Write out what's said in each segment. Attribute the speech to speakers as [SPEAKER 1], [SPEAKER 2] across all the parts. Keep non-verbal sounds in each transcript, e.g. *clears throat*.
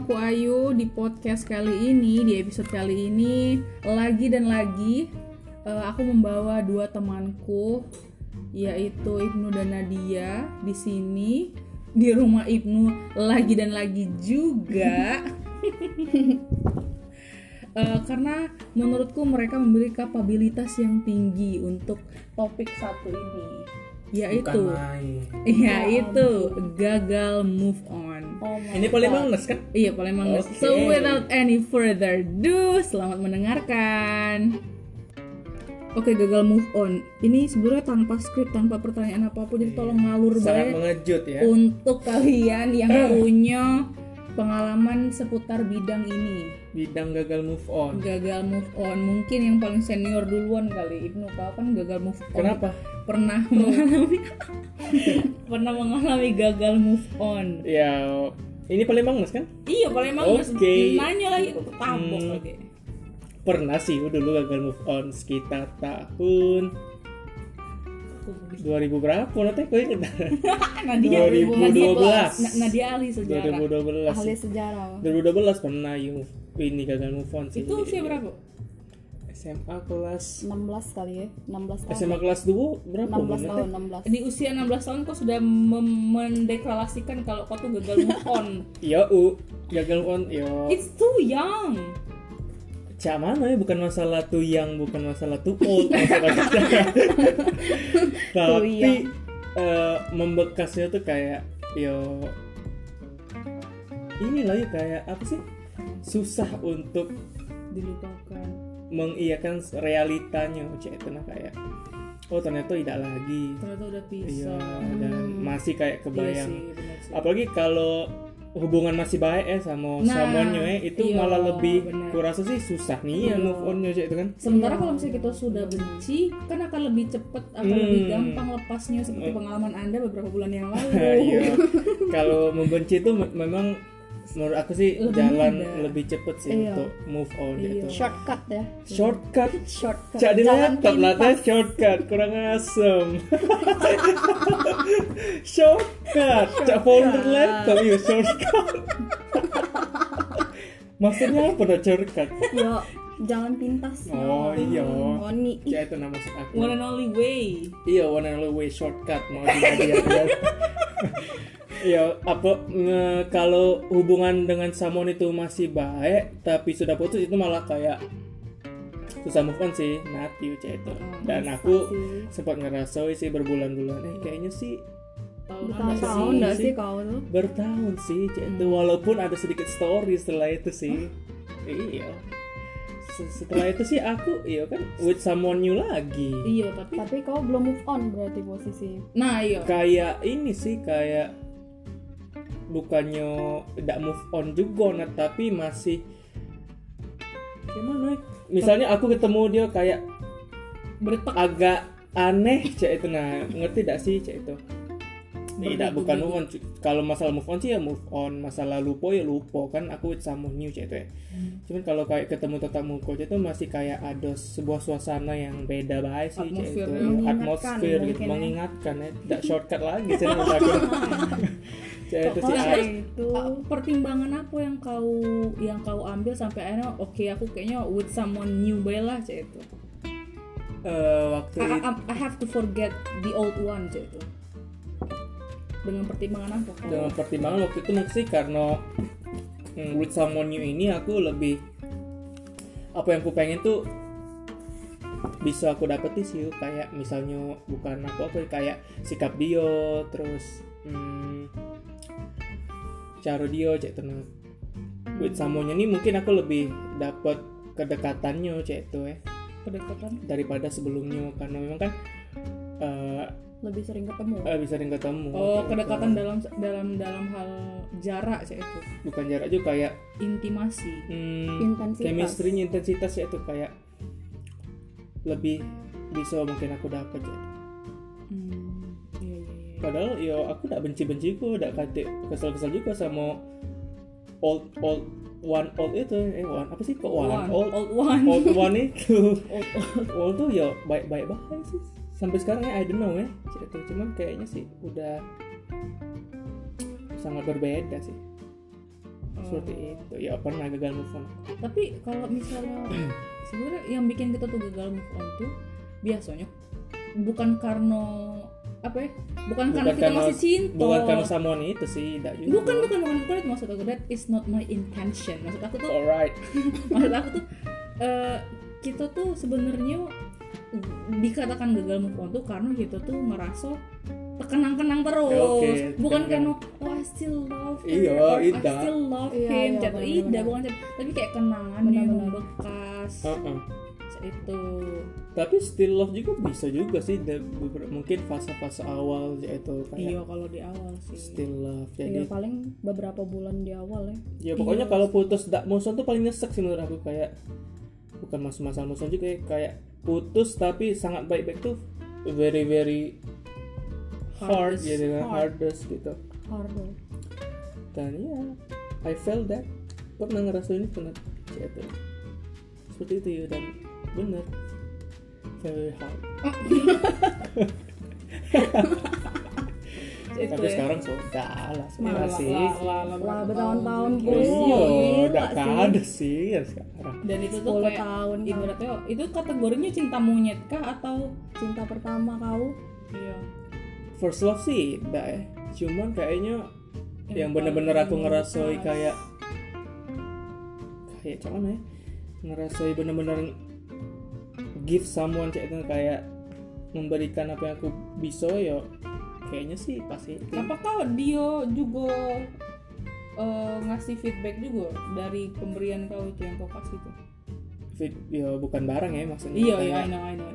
[SPEAKER 1] aku Ayu di podcast kali ini, di episode kali ini lagi dan lagi eh, aku membawa dua temanku yaitu Ibnu dan Nadia di sini di rumah Ibnu lagi dan lagi juga. Eh, karena menurutku mereka memiliki kapabilitas yang tinggi untuk topik satu ini
[SPEAKER 2] Bukan
[SPEAKER 1] yaitu
[SPEAKER 2] main.
[SPEAKER 1] ya itu gagal move on.
[SPEAKER 3] Oh my
[SPEAKER 2] Ini
[SPEAKER 3] God.
[SPEAKER 2] paling manges kan?
[SPEAKER 1] Iya, paling manges.
[SPEAKER 2] Oke.
[SPEAKER 1] So without any further ado, selamat mendengarkan. Oke, gagal move on. Ini sebenarnya tanpa skrip, tanpa pertanyaan apapun, jadi tolong ngalur
[SPEAKER 2] Iya. Sangat Eh.
[SPEAKER 1] banget
[SPEAKER 2] mengejut ya.
[SPEAKER 1] oh. untuk kalian yang punya pengalaman seputar bidang ini.
[SPEAKER 2] Bidang gagal move on.
[SPEAKER 1] Gagal move on. Mungkin yang paling senior duluan kali Ibnu kau kan gagal move on.
[SPEAKER 2] Kenapa? *laughs*
[SPEAKER 1] Pernah mengalami pernah mengalami gagal move on.
[SPEAKER 2] Ya, ini paling manges kan?
[SPEAKER 1] Iya, paling manges.
[SPEAKER 2] Oke.
[SPEAKER 1] Nanya lagi aku tabok
[SPEAKER 2] Hmm.
[SPEAKER 1] lagi.
[SPEAKER 2] Pernah sih dulu gagal move on sekitar tahun 2000 berapa nanti aku ingat *laughs*
[SPEAKER 1] Nadia
[SPEAKER 2] 2012.
[SPEAKER 1] Na- Nadia ahli sejarah.
[SPEAKER 2] 2012
[SPEAKER 3] ahli
[SPEAKER 2] sih.
[SPEAKER 3] sejarah.
[SPEAKER 2] 2012 pernah you move- ini gagal move on sih
[SPEAKER 1] Itu usia berapa?
[SPEAKER 2] SMA kelas
[SPEAKER 3] 16 kali ya,
[SPEAKER 1] Oh.
[SPEAKER 3] 16 tahun.
[SPEAKER 2] SMA kelas 2 berapa
[SPEAKER 3] 16
[SPEAKER 2] Mon,
[SPEAKER 3] tahun,
[SPEAKER 2] nanti?
[SPEAKER 3] 16.
[SPEAKER 1] Di usia 16 tahun kau sudah mem- mendeklarasikan kalau kau tuh gagal move
[SPEAKER 2] *laughs*
[SPEAKER 1] on.
[SPEAKER 2] Iya, U. Gagal move on, yo.
[SPEAKER 1] It's too young.
[SPEAKER 2] Cak mana ya bukan masalah tuh yang bukan masalah tuh
[SPEAKER 1] *laughs*
[SPEAKER 2] old masalah kita.
[SPEAKER 1] Iya.
[SPEAKER 2] tapi eh, membekasnya tuh kayak yo inilah ya kayak apa sih susah untuk
[SPEAKER 1] Dilupakan.
[SPEAKER 2] mengiyakan realitanya cak itu nah kayak oh ternyata tidak lagi
[SPEAKER 1] Ternyata udah
[SPEAKER 2] iya
[SPEAKER 1] pisah.
[SPEAKER 2] dan masih kayak
[SPEAKER 1] Hmm. Iya
[SPEAKER 2] kebayang
[SPEAKER 1] sih, benar sih.
[SPEAKER 2] apalagi kalau hubungan masih baik ya sama
[SPEAKER 1] Nah,
[SPEAKER 2] someone-nya ya, itu
[SPEAKER 1] iya,
[SPEAKER 2] malah lebih
[SPEAKER 1] benar.
[SPEAKER 2] kurasa sih susah nih ya
[SPEAKER 1] Iya.
[SPEAKER 2] move on-nya cak itu kan
[SPEAKER 1] Sementara kalau misalnya kita sudah benci, kan akan lebih cepet, akan
[SPEAKER 2] Hmm. Eh.
[SPEAKER 1] lebih gampang lepasnya seperti pengalaman Anda beberapa bulan
[SPEAKER 2] *laughs*
[SPEAKER 1] yang lalu.
[SPEAKER 2] Iya. Kalau membenci itu me- memang menurut aku sih
[SPEAKER 1] Lebih
[SPEAKER 2] jalan
[SPEAKER 1] mudah.
[SPEAKER 2] lebih cepet sih
[SPEAKER 3] Iya.
[SPEAKER 2] untuk move on
[SPEAKER 1] Iya.
[SPEAKER 2] itu.
[SPEAKER 3] Shortcut ya.
[SPEAKER 2] Shortcut.
[SPEAKER 3] Shortcut.
[SPEAKER 2] Cak di
[SPEAKER 3] Jalan
[SPEAKER 2] laptop lah,
[SPEAKER 3] pintas.
[SPEAKER 2] teh shortcut kurang asem. shortcut, cak folder laptop iya shortcut. *laughs* Maksudnya apa tuh shortcut?
[SPEAKER 3] Yo, jalan pintas.
[SPEAKER 2] Oh iya,
[SPEAKER 3] Moni.
[SPEAKER 2] cak itu nama maksud aku.
[SPEAKER 1] One and only way.
[SPEAKER 2] Iya, one and only way shortcut mau dihadiah. Iya, apa nge- kalau hubungan dengan someone itu masih baik tapi sudah putus itu malah kayak susah move on sih, not you Cah, itu. Dan aku sempat ngerasoi sih berbulan-bulan eh kayaknya sih
[SPEAKER 1] Tahun Anda sih.
[SPEAKER 3] Bertahun-tahun
[SPEAKER 2] sih,
[SPEAKER 3] dah
[SPEAKER 2] sih.
[SPEAKER 3] sih kau tuh.
[SPEAKER 2] bertahun sih Cah, itu walaupun ada sedikit story setelah itu sih. Iya. Se- Setelah itu sih aku iya kan with someone new lagi.
[SPEAKER 1] Iya, tapi
[SPEAKER 3] Tapi kau belum move on berarti posisi.
[SPEAKER 1] nah iya.
[SPEAKER 2] kayak ini sih kayak bukannya tidak move on juga nah tapi masih gimana ya? misalnya aku ketemu dia kayak
[SPEAKER 1] Bertek
[SPEAKER 2] agak aneh cek itu nah ngerti tidak sih cek itu tidak bukan move on cu- kalau masalah move on sih ya move on masalah lupa ya lupa kan aku with someone new cek itu ya cuman kalau kayak ketemu tetap muka cek itu masih kayak ada sebuah suasana yang beda baik sih cek itu
[SPEAKER 1] Atmosfernya
[SPEAKER 3] mengingatkan
[SPEAKER 2] atmosfer gitu
[SPEAKER 3] mungkin ya.
[SPEAKER 2] mengingatkan ya tidak shortcut lagi cek menurut
[SPEAKER 3] *laughs*
[SPEAKER 2] aku cek itu sih
[SPEAKER 1] Pokoknya
[SPEAKER 2] Ay.
[SPEAKER 3] itu
[SPEAKER 1] Uh, pertimbangan apa yang kau yang kau ambil sampai akhirnya oke aku kayaknya with someone new bae lah cek itu
[SPEAKER 2] Eh, waktu
[SPEAKER 1] I,
[SPEAKER 2] itu
[SPEAKER 1] I, I have to forget the old one cek itu dengan pertimbangan apa kau
[SPEAKER 2] dengan pertimbangan waktu itu mungkin sih karena mm, with someone new ini aku lebih apa yang aku pengen tuh bisa aku dapetin sih kayak misalnya bukan aku apa ya, kayak sikap dia terus mm, cara dia cek tenang with someone ini mungkin aku lebih dapat kedekatannya cek itu ya
[SPEAKER 1] kedekatan
[SPEAKER 2] daripada sebelumnya karena memang kan eh,
[SPEAKER 3] lebih sering ketemu.
[SPEAKER 2] eh, bisa sering ketemu gitu.
[SPEAKER 1] oh
[SPEAKER 2] cek itu.
[SPEAKER 1] kedekatan dalam dalam dalam hal jarak cek itu
[SPEAKER 2] bukan jarak juga kayak
[SPEAKER 1] intimasi
[SPEAKER 2] mm,
[SPEAKER 3] Intensitas.
[SPEAKER 2] chemistry-nya intensitas ya tuh kayak lebih bisa mungkin aku dapat ya.
[SPEAKER 1] hmm. iya, iya, iya.
[SPEAKER 2] Padahal yo aku tidak benci-benci kok, tidak kate kesel-kesel juga sama old old one old itu eh one apa sih kok one,
[SPEAKER 1] One,
[SPEAKER 2] old
[SPEAKER 1] old one
[SPEAKER 2] old one itu
[SPEAKER 1] old,
[SPEAKER 2] old tuh yo baik-baik banget sih sampai sekarang ya I don't know ya Cik itu cuman kayaknya sih udah sangat berbeda sih seperti itu ya pernah gagal move on
[SPEAKER 1] tapi kalau misalnya *clears throat* sebenarnya yang bikin kita tuh gagal move on tuh biasanya bukan karena apa ya bukan, karena kita masih cinta
[SPEAKER 2] bukan karena someone itu sih tidak juga
[SPEAKER 1] oh. bukan bukan bukan bukan itu maksud aku that is not my intention maksud aku tuh
[SPEAKER 2] alright
[SPEAKER 1] maksud aku tuh eh, kita tuh sebenarnya dikatakan gagal move on tuh karena kita tuh merasa terkenang-kenang terus
[SPEAKER 2] Ya, Oke,
[SPEAKER 1] bukan karena
[SPEAKER 2] kenang.
[SPEAKER 1] oh I still love her
[SPEAKER 2] Iya,
[SPEAKER 1] or I
[SPEAKER 2] Ida.
[SPEAKER 1] still love
[SPEAKER 3] Iya,
[SPEAKER 1] him
[SPEAKER 3] iya,
[SPEAKER 1] jatuh
[SPEAKER 3] benar-benar.
[SPEAKER 1] ida bukan jatuh- tapi kayak kenangan yang
[SPEAKER 3] Benar-benar.
[SPEAKER 1] membekas gitu.
[SPEAKER 2] Heeh.
[SPEAKER 1] itu
[SPEAKER 2] tapi still love juga bisa juga sih da- beber- mungkin fase-fase awal yaitu kayak
[SPEAKER 1] iya kalau di awal sih
[SPEAKER 2] still love
[SPEAKER 3] Iya,
[SPEAKER 2] jadi
[SPEAKER 3] paling beberapa bulan di awal ya.
[SPEAKER 2] ya pokoknya
[SPEAKER 1] Iya.
[SPEAKER 2] kalau putus dak musuhan tuh paling nyesek sih menurut aku kayak bukan mas masalah musuhan juga ya kayak putus tapi sangat baik-baik tuh very very hard
[SPEAKER 1] Hardest,
[SPEAKER 2] gitu kan
[SPEAKER 1] hard.
[SPEAKER 2] hardest gitu
[SPEAKER 3] Hard. ya.
[SPEAKER 2] dan ya I felt that pernah ngerasain ini pernah jatuh seperti itu ya dan bener very hard
[SPEAKER 1] itu
[SPEAKER 2] tapi
[SPEAKER 1] ya.
[SPEAKER 2] sekarang sudah lah
[SPEAKER 1] Malah,
[SPEAKER 2] sudah iya sih
[SPEAKER 1] lah, lah, lah,
[SPEAKER 3] Lah
[SPEAKER 1] berapa
[SPEAKER 3] bertahun-tahun gitu.
[SPEAKER 1] tahun. gitu.
[SPEAKER 3] pun.
[SPEAKER 2] iya
[SPEAKER 3] Gila
[SPEAKER 2] udah
[SPEAKER 3] sih.
[SPEAKER 2] ada sih ya sekarang
[SPEAKER 1] dan itu tuh
[SPEAKER 3] 10
[SPEAKER 1] kayak
[SPEAKER 3] tahun.
[SPEAKER 1] ibaratnya itu kategorinya cinta monyet kah atau
[SPEAKER 3] Cinta pertama kau
[SPEAKER 1] iya
[SPEAKER 2] first love sih enggak ya cuman kayaknya
[SPEAKER 1] Yang
[SPEAKER 2] yang bener-bener aku
[SPEAKER 1] paling
[SPEAKER 2] ngerasoi
[SPEAKER 1] pas.
[SPEAKER 2] kayak kayak cuman ya ngerasoi bener-bener give someone kayak itu kayak memberikan apa yang aku bisa yo kayaknya sih pasti itu
[SPEAKER 1] apakah dia juga eh, ngasih feedback juga dari pemberian kau itu yang kau kasih tuh
[SPEAKER 2] Fit- yo bukan barang ya maksudnya
[SPEAKER 1] iya iya
[SPEAKER 2] kayak,
[SPEAKER 1] I know I know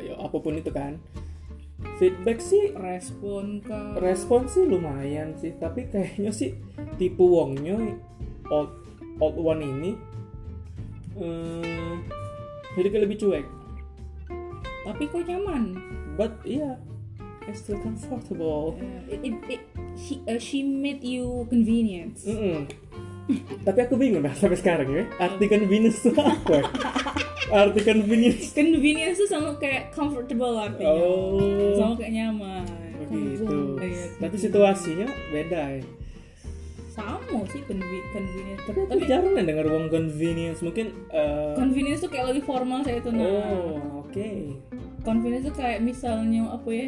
[SPEAKER 2] yo, apapun itu kan feedback sih
[SPEAKER 1] respon kah
[SPEAKER 2] respon sih lumayan sih tapi kayaknya sih tipu wongnya old old one ini eh jadi kayak lebih cuek
[SPEAKER 1] tapi kau nyaman
[SPEAKER 2] but iya yeah, I still comfortable
[SPEAKER 1] Eh, it, it, it- she, eh, she made you convenient
[SPEAKER 2] Mm-mm. tapi aku bingung dah sampai sekarang ya arti convenience itu apa arti convenience
[SPEAKER 1] convenience tuh sama kayak comfortable artinya
[SPEAKER 2] oh
[SPEAKER 1] Iya. sama kayak nyaman
[SPEAKER 2] begitu
[SPEAKER 1] Iya.
[SPEAKER 2] tapi situasinya beda ya
[SPEAKER 1] sama sih conve- convenience
[SPEAKER 2] tapi aku jarang nih dengar wong convenience mungkin eh,
[SPEAKER 1] convenience tuh kayak lebih formal saya itu nah
[SPEAKER 2] oh oke
[SPEAKER 1] convenience tuh kayak misalnya apa ya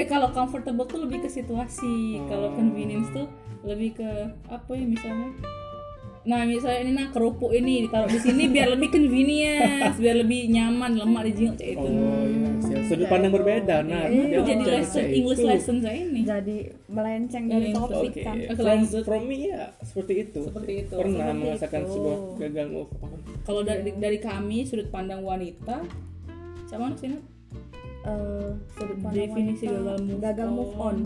[SPEAKER 1] eh kalau comfortable tuh lebih ke situasi kalau
[SPEAKER 2] Oh.
[SPEAKER 1] convenience tuh lebih ke apa ya misalnya nah misalnya ini nah kerupuk ini ditaruh di sini biar lebih convenience biar lebih nyaman lemak di jenggot kayak itu
[SPEAKER 2] Oh iya, siap. sudut pandang berbeda.
[SPEAKER 1] Ini
[SPEAKER 2] Nah, dia
[SPEAKER 1] Gitu. Iya, jadi
[SPEAKER 2] percaya
[SPEAKER 1] lesson
[SPEAKER 2] itu.
[SPEAKER 1] English lesson saya ini
[SPEAKER 3] jadi melenceng dari
[SPEAKER 1] Iya,
[SPEAKER 3] topik
[SPEAKER 2] Oke,
[SPEAKER 3] kan.
[SPEAKER 1] Oke,
[SPEAKER 2] from,
[SPEAKER 1] lanjut.
[SPEAKER 2] from me ya seperti itu.
[SPEAKER 1] Seperti itu,
[SPEAKER 2] Pernah
[SPEAKER 1] seperti
[SPEAKER 2] merasakan
[SPEAKER 1] itu.
[SPEAKER 2] sebuah oh, gagal move on.
[SPEAKER 1] kalau dari dari kami sudut pandang wanita sama sih Nat?
[SPEAKER 3] Eh, sudut pandang
[SPEAKER 1] Definisi
[SPEAKER 3] wanita,
[SPEAKER 1] gagal move
[SPEAKER 3] gagal move on.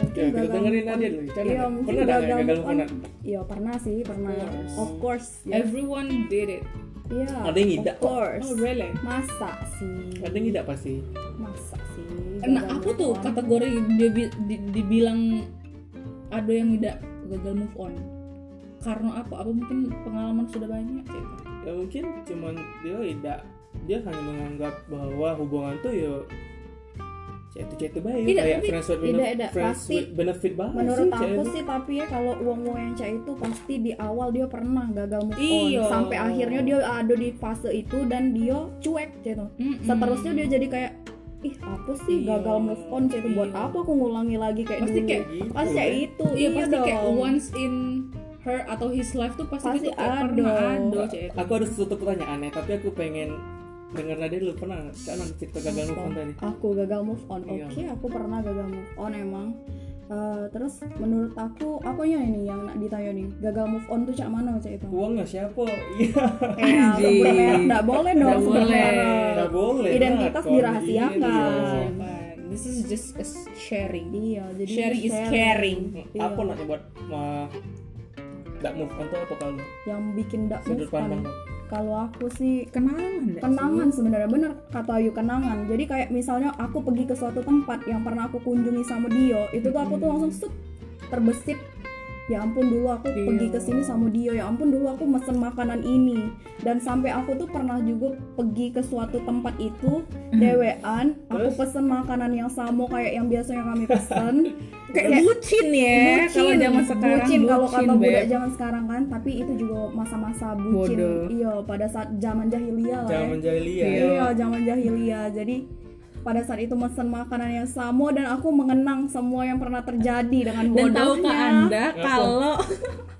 [SPEAKER 2] Oke, kita
[SPEAKER 3] gagal
[SPEAKER 2] dengerin
[SPEAKER 3] move on-
[SPEAKER 2] Nadia dulu. Cara
[SPEAKER 3] Iya,
[SPEAKER 2] Nadia.
[SPEAKER 3] mungkin
[SPEAKER 2] Pernah nggak
[SPEAKER 3] gagal
[SPEAKER 2] gagal
[SPEAKER 3] move
[SPEAKER 2] move
[SPEAKER 3] on.
[SPEAKER 2] on?
[SPEAKER 3] Iya, pernah sih, pernah.
[SPEAKER 2] course. Eh,
[SPEAKER 3] Of course. ya.
[SPEAKER 1] everyone did it
[SPEAKER 3] Iya.
[SPEAKER 2] Ada yang tidak.
[SPEAKER 3] Of course.
[SPEAKER 1] oh really
[SPEAKER 3] Masa sih?
[SPEAKER 2] Kadang tidak pasti.
[SPEAKER 3] Masa sih?
[SPEAKER 1] Nah,
[SPEAKER 3] gagal
[SPEAKER 1] aku
[SPEAKER 3] move
[SPEAKER 1] tuh
[SPEAKER 3] on?
[SPEAKER 1] kategori dia bi- di- dibilang ada yang tidak gagal move on. Karena apa? Apa mungkin pengalaman sudah banyak? Cek?
[SPEAKER 2] Ya mungkin cuman dia tidak dia hanya menganggap bahwa hubungan tuh ya itu itu baik
[SPEAKER 1] Tidak,
[SPEAKER 2] kayak
[SPEAKER 1] tapi-
[SPEAKER 2] friends with
[SPEAKER 3] tidak,
[SPEAKER 2] benefit,
[SPEAKER 3] tidak.
[SPEAKER 2] friends
[SPEAKER 3] Pasti-
[SPEAKER 2] with benefit banget
[SPEAKER 3] Menurut
[SPEAKER 2] sih, cewek
[SPEAKER 3] aku
[SPEAKER 2] itu.
[SPEAKER 3] sih tapi ya kalau uang-uang yang cah itu pasti di awal dia pernah gagal move on
[SPEAKER 1] Iya.
[SPEAKER 3] sampai akhirnya dia ada di fase itu dan dia cuek gitu.
[SPEAKER 1] Mm-mm.
[SPEAKER 3] Seterusnya dia jadi kayak ih apa sih
[SPEAKER 1] Iya.
[SPEAKER 3] gagal move on cah itu buat
[SPEAKER 1] Iya.
[SPEAKER 3] apa aku ngulangi lagi kayak
[SPEAKER 1] Pasti
[SPEAKER 3] dulu.
[SPEAKER 1] kayak
[SPEAKER 2] gitu,
[SPEAKER 3] pasti kayak
[SPEAKER 2] ya.
[SPEAKER 3] itu.
[SPEAKER 1] Iya pasti kayak
[SPEAKER 3] dong.
[SPEAKER 1] once in her atau his life tuh pasti,
[SPEAKER 3] Pasti
[SPEAKER 1] gitu kayak
[SPEAKER 3] ada.
[SPEAKER 1] pernah ada. ya. Cek.
[SPEAKER 3] Iya.
[SPEAKER 2] Aku harus tutup pertanyaan ya, tapi aku pengen denger Nadia dulu pernah nggak? Karena cerita gagal move on tadi.
[SPEAKER 3] Aku gagal move on.
[SPEAKER 2] Iya.
[SPEAKER 3] Oke, aku pernah gagal move on emang. Eh, terus menurut aku apanya ini yang nak ditanya nih? Gagal move on tuh cak mana cak itu?
[SPEAKER 2] Uangnya siapa? Iya.
[SPEAKER 3] Eh,
[SPEAKER 1] Anjing.
[SPEAKER 3] Enggak boleh dong
[SPEAKER 1] Nggak
[SPEAKER 3] sebut
[SPEAKER 1] boleh.
[SPEAKER 3] merek.
[SPEAKER 2] Nggak boleh.
[SPEAKER 3] Iya. Identitas
[SPEAKER 2] Nakon.
[SPEAKER 3] dirahasiakan.
[SPEAKER 2] Iya.
[SPEAKER 1] Cuman, kan? This is just a sharing.
[SPEAKER 3] Iya, jadi
[SPEAKER 1] Sharing is caring.
[SPEAKER 3] Iya.
[SPEAKER 2] Apa nak buat ma nggak move on tuh apa kalau
[SPEAKER 3] Yang bikin dak
[SPEAKER 2] sudut
[SPEAKER 3] move
[SPEAKER 2] pandang?
[SPEAKER 3] on. Kalau aku sih
[SPEAKER 1] Kenangan nggak Iya sih?
[SPEAKER 3] kenangan sebenarnya bener kata Ayu kenangan. Jadi kayak misalnya aku pergi
[SPEAKER 1] Hmm.
[SPEAKER 3] ke suatu tempat yang pernah aku kunjungi sama Dio, itu tuh aku tuh langsung set terbesit ya ampun dulu aku
[SPEAKER 1] Iya.
[SPEAKER 3] pergi ke sini sama dia ya ampun dulu aku mesen makanan ini dan sampai aku tuh pernah juga pergi ke suatu tempat itu
[SPEAKER 1] Hmm.
[SPEAKER 3] dewean aku
[SPEAKER 2] Terus?
[SPEAKER 3] pesen makanan yang sama kayak yang biasanya kami
[SPEAKER 1] *laughs*
[SPEAKER 3] pesen
[SPEAKER 1] kayak bucin ya kalau zaman sekarang
[SPEAKER 3] bucin kalau kata
[SPEAKER 1] Beb.
[SPEAKER 3] budak zaman sekarang kan tapi itu juga masa-masa bucin
[SPEAKER 1] Bodoh.
[SPEAKER 3] iya pada saat zaman jahiliyah lah ya.
[SPEAKER 2] jangan menjahili ya
[SPEAKER 3] Iya, zaman jahiliyah. Jadi pada saat itu mesen makanan yang sama dan aku mengenang semua yang pernah terjadi dengan
[SPEAKER 1] dan
[SPEAKER 3] bodohnya.
[SPEAKER 1] tahu ke anda kalau *laughs*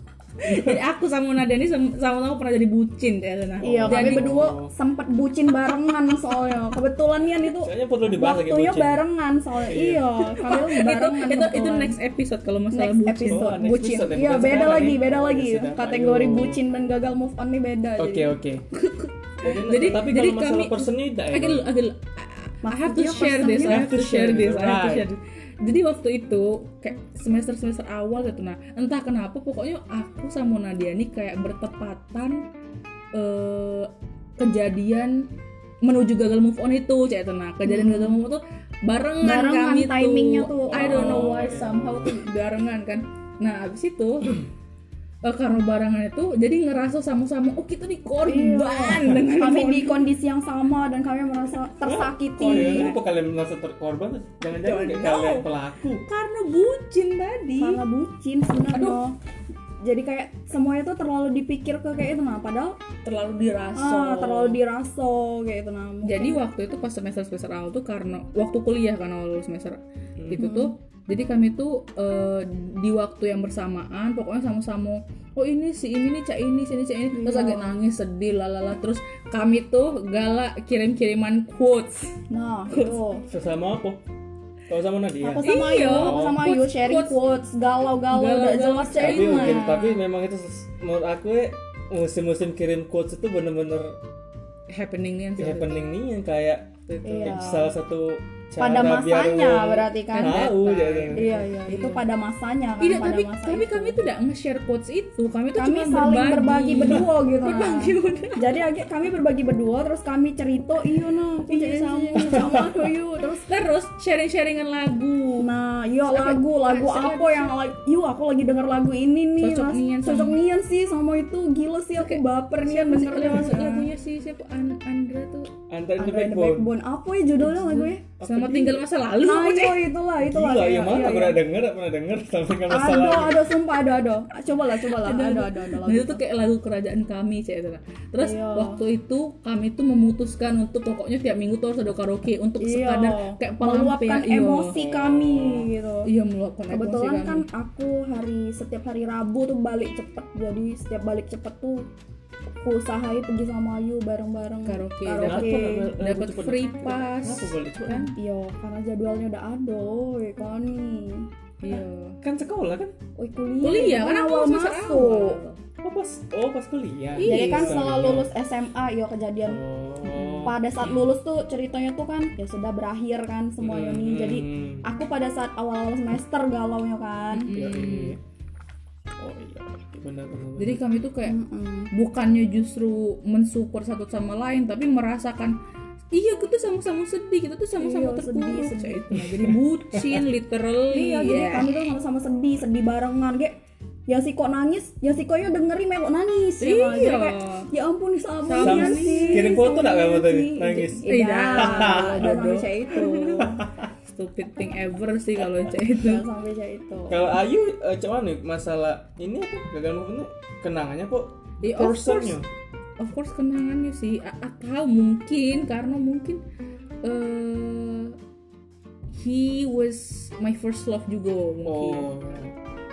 [SPEAKER 1] jadi aku sama Nadani sem- sama-sama pernah jadi bucin ya Dana.
[SPEAKER 3] Iya, kami
[SPEAKER 1] jadi
[SPEAKER 3] berdua sempat bucin barengan soalnya. Kebetulan Yan itu
[SPEAKER 2] kayaknya perlu dibahas lagi
[SPEAKER 3] waktunya
[SPEAKER 2] bucin.
[SPEAKER 3] barengan soalnya. Iya, kami
[SPEAKER 1] itu
[SPEAKER 3] barengan.
[SPEAKER 1] itu itu
[SPEAKER 3] kebetulan.
[SPEAKER 1] next episode kalau masalah
[SPEAKER 3] Next
[SPEAKER 1] bucin.
[SPEAKER 3] episode
[SPEAKER 2] Oh, next
[SPEAKER 3] bucin.
[SPEAKER 2] episode ya,
[SPEAKER 3] Iya,
[SPEAKER 2] bukan
[SPEAKER 3] beda
[SPEAKER 2] sekarang
[SPEAKER 3] lagi,
[SPEAKER 2] ya.
[SPEAKER 3] beda
[SPEAKER 2] Oh, ya
[SPEAKER 3] lagi.
[SPEAKER 2] sudah,
[SPEAKER 3] Kategori
[SPEAKER 2] ayo.
[SPEAKER 3] bucin dan gagal move on nih beda.
[SPEAKER 2] oke
[SPEAKER 3] jadi.
[SPEAKER 2] oke
[SPEAKER 1] Jadi
[SPEAKER 2] tapi
[SPEAKER 1] jadi
[SPEAKER 2] kalau masalah
[SPEAKER 1] kami
[SPEAKER 2] person ini tidak ya,
[SPEAKER 1] agak dulu, agak dulu. I have to
[SPEAKER 3] Maksudnya
[SPEAKER 1] share this, I have to share this, I have to
[SPEAKER 2] right.
[SPEAKER 1] share this. Jadi waktu itu kayak semester semester awal gitu nah entah kenapa pokoknya aku sama Nadia nih kayak bertepatan eh, kejadian menuju gagal move on itu cek itu nah kejadian gagal move on tuh barengan,
[SPEAKER 3] Hmm. Barengan
[SPEAKER 1] kami
[SPEAKER 3] timingnya tuh.
[SPEAKER 1] I don't know
[SPEAKER 2] Oh.
[SPEAKER 1] why somehow tuh barengan kan. Nah abis itu eh, karena barengan itu jadi ngerasa sama-sama oh kita nih korban dengan
[SPEAKER 3] Iya. Kami
[SPEAKER 1] move on
[SPEAKER 3] di kondisi yang sama dan kami merasa tersakiti.
[SPEAKER 2] Oh, iya. Kenapa kalian merasa terkorban? Jangan-jangan
[SPEAKER 1] Don't
[SPEAKER 2] kalian
[SPEAKER 1] know.
[SPEAKER 2] pelaku.
[SPEAKER 1] karena bucin tadi.
[SPEAKER 3] karena bucin sebenarnya jadi kayak semuanya tuh terlalu dipikir ke kayak itu nah padahal
[SPEAKER 1] terlalu dirasa
[SPEAKER 3] ah, terlalu dirasa kayak itu nah mungkin.
[SPEAKER 1] jadi waktu itu pas semester semester awal tuh karena waktu kuliah kan awal lulus semester
[SPEAKER 3] Hmm.
[SPEAKER 1] gitu tuh jadi kami tuh eh, di waktu yang bersamaan pokoknya sama-sama oh ini si ini nih cak ini si ini cak ini terus
[SPEAKER 3] Iya.
[SPEAKER 1] agak nangis sedih lalala terus kami tuh galak kirim-kiriman quotes
[SPEAKER 3] *laughs* nah itu
[SPEAKER 2] Sesama apa? Kalau sama Nadia.
[SPEAKER 3] aku sama
[SPEAKER 1] Iya.
[SPEAKER 3] Ayu aku sama Ayu
[SPEAKER 1] Quotes,
[SPEAKER 3] sharing
[SPEAKER 1] quotes.
[SPEAKER 3] quotes galau-galau udah
[SPEAKER 1] Galau-galau
[SPEAKER 3] jelas
[SPEAKER 1] sharing.
[SPEAKER 2] tapi
[SPEAKER 3] sharing
[SPEAKER 2] mungkin
[SPEAKER 3] lah
[SPEAKER 2] tapi memang itu ses- menurut aku ya, musim-musim kirim quotes itu bener-bener
[SPEAKER 1] happening nih sorry.
[SPEAKER 2] happening nih yang kayak
[SPEAKER 3] Iya.
[SPEAKER 2] salah satu cara
[SPEAKER 3] Pada
[SPEAKER 2] biar
[SPEAKER 3] masanya
[SPEAKER 2] orang
[SPEAKER 3] berarti kan.
[SPEAKER 2] tahu
[SPEAKER 1] Kan.
[SPEAKER 2] jadi
[SPEAKER 3] iya iya itu pada masanya kan
[SPEAKER 1] tidak
[SPEAKER 3] pada
[SPEAKER 1] Iya, tapi
[SPEAKER 3] masa
[SPEAKER 1] tapi
[SPEAKER 3] itu.
[SPEAKER 1] kami tuh tidak nge-share quotes itu kami tuh
[SPEAKER 3] kami
[SPEAKER 1] cuma
[SPEAKER 3] saling berbagi, berdua gitu nah.
[SPEAKER 1] *laughs* berbagi udah
[SPEAKER 3] jadi akhirnya kami berbagi berdua terus kami cerita iya nah aku jadi sama sama Ayu terus
[SPEAKER 1] terus sharing-sharingan lagu
[SPEAKER 3] Nah, iya
[SPEAKER 1] Sampai-
[SPEAKER 3] lagu, lagu
[SPEAKER 1] sampai-
[SPEAKER 3] apa yang lagi, yuk aku lagi denger lagu ini nih,
[SPEAKER 1] Cocok
[SPEAKER 3] Mas.
[SPEAKER 1] nian sama-
[SPEAKER 3] cocok nian sih sama itu, gila sih aku baper nian
[SPEAKER 1] siapa sih
[SPEAKER 3] dengernya.
[SPEAKER 1] yang masuk lagunya sih siapa An- Andra tuh
[SPEAKER 2] antar itu
[SPEAKER 3] Under the Backbone, apa ya judulnya lagunya?
[SPEAKER 1] Selamat tinggal masa lalu Cek.
[SPEAKER 3] Nah, iya itulah, itulah.
[SPEAKER 2] gila
[SPEAKER 3] iya,
[SPEAKER 2] yang mana
[SPEAKER 3] iya,
[SPEAKER 2] pernah
[SPEAKER 3] iya.
[SPEAKER 2] denger pernah denger sampai nggak
[SPEAKER 3] Ada,
[SPEAKER 2] masalah gitu?
[SPEAKER 3] ada, sumpah ada, ada. Coba lah, coba lah, ada, ada, ada, ada
[SPEAKER 1] Nah,
[SPEAKER 3] lagu.
[SPEAKER 1] itu tuh kayak lagu kerajaan kami cek itu. Terus
[SPEAKER 3] Iya.
[SPEAKER 1] waktu itu kami tuh memutuskan untuk pokoknya tiap minggu tuh harus ada karaoke untuk
[SPEAKER 3] Iya,
[SPEAKER 1] sekadar kayak
[SPEAKER 3] meluapkan
[SPEAKER 1] pelampian iya.
[SPEAKER 3] emosi kami gitu.
[SPEAKER 1] Iya meluapkan
[SPEAKER 3] Kebetulan
[SPEAKER 1] emosi
[SPEAKER 3] kan
[SPEAKER 1] kami.
[SPEAKER 3] aku hari setiap hari Rabu tuh balik cepet, jadi setiap balik cepet tuh aku usahai pergi sama Ayu bareng-bareng
[SPEAKER 1] Karaoke,
[SPEAKER 3] karaoke.
[SPEAKER 1] dapat free pass.
[SPEAKER 2] Kenapa boleh cepet?
[SPEAKER 1] Kan?
[SPEAKER 3] Iya, karena jadwalnya udah ada, woi kan nih.
[SPEAKER 1] Iya.
[SPEAKER 2] kan sekolah kan
[SPEAKER 3] Woi kuliah,
[SPEAKER 1] Kuliah kan aku
[SPEAKER 3] awal
[SPEAKER 1] semester
[SPEAKER 3] masuk.
[SPEAKER 1] awal.
[SPEAKER 2] oh pas oh pas kuliah
[SPEAKER 1] Iya.
[SPEAKER 3] Jadi kan
[SPEAKER 2] Misalnya.
[SPEAKER 3] setelah lulus SMA, yo iya, kejadian
[SPEAKER 2] oh
[SPEAKER 3] pada saat lulus tuh ceritanya tuh kan ya sudah berakhir kan semuanya nih. Jadi ah,
[SPEAKER 2] Hmm.
[SPEAKER 3] aku pada saat awal-awal semester galau nya kan.
[SPEAKER 2] Iya,
[SPEAKER 1] Hmm.
[SPEAKER 2] iya. oh iya benar benar benar.
[SPEAKER 1] Jadi kami tuh kayak
[SPEAKER 3] Mm-mm.
[SPEAKER 1] bukannya justru mensupport satu sama lain tapi merasakan iya kita sama-sama sedih kita tuh sama-sama
[SPEAKER 3] Iya,
[SPEAKER 1] terpuruk
[SPEAKER 3] sedih, sedih.
[SPEAKER 1] Cak, itu. jadi
[SPEAKER 3] *laughs*
[SPEAKER 1] bucin literally
[SPEAKER 3] Iya,
[SPEAKER 1] ya
[SPEAKER 3] jadi kami tuh sama-sama sedih, sedih barengan kayak ya si kok nangis, ya si koknya dengerin melok nangis. ya kan? Jadi
[SPEAKER 1] Iya.
[SPEAKER 3] kayak ya ampun sama,
[SPEAKER 1] Sama
[SPEAKER 3] Nian
[SPEAKER 1] sih.
[SPEAKER 3] sih.
[SPEAKER 2] Kirim foto
[SPEAKER 3] sama
[SPEAKER 2] nggak kamu
[SPEAKER 3] Nian
[SPEAKER 2] tadi?
[SPEAKER 3] sih.
[SPEAKER 2] Nangis.
[SPEAKER 3] Iya,
[SPEAKER 1] *laughs* Tidak.
[SPEAKER 3] udah sampai itu.
[SPEAKER 1] *laughs* stupid thing ever sih kalau gitu. cek itu
[SPEAKER 3] Udah sampai kayak itu.
[SPEAKER 2] Kalau Ayu, eh, cuman nih masalah ini apa gagal move on-nya? kenangannya kok
[SPEAKER 1] Ya,
[SPEAKER 3] Iya,
[SPEAKER 1] of course,
[SPEAKER 2] personnya?
[SPEAKER 1] of course kenangannya sih A- atau mungkin karena mungkin eh he was my first love juga mungkin
[SPEAKER 2] Oh,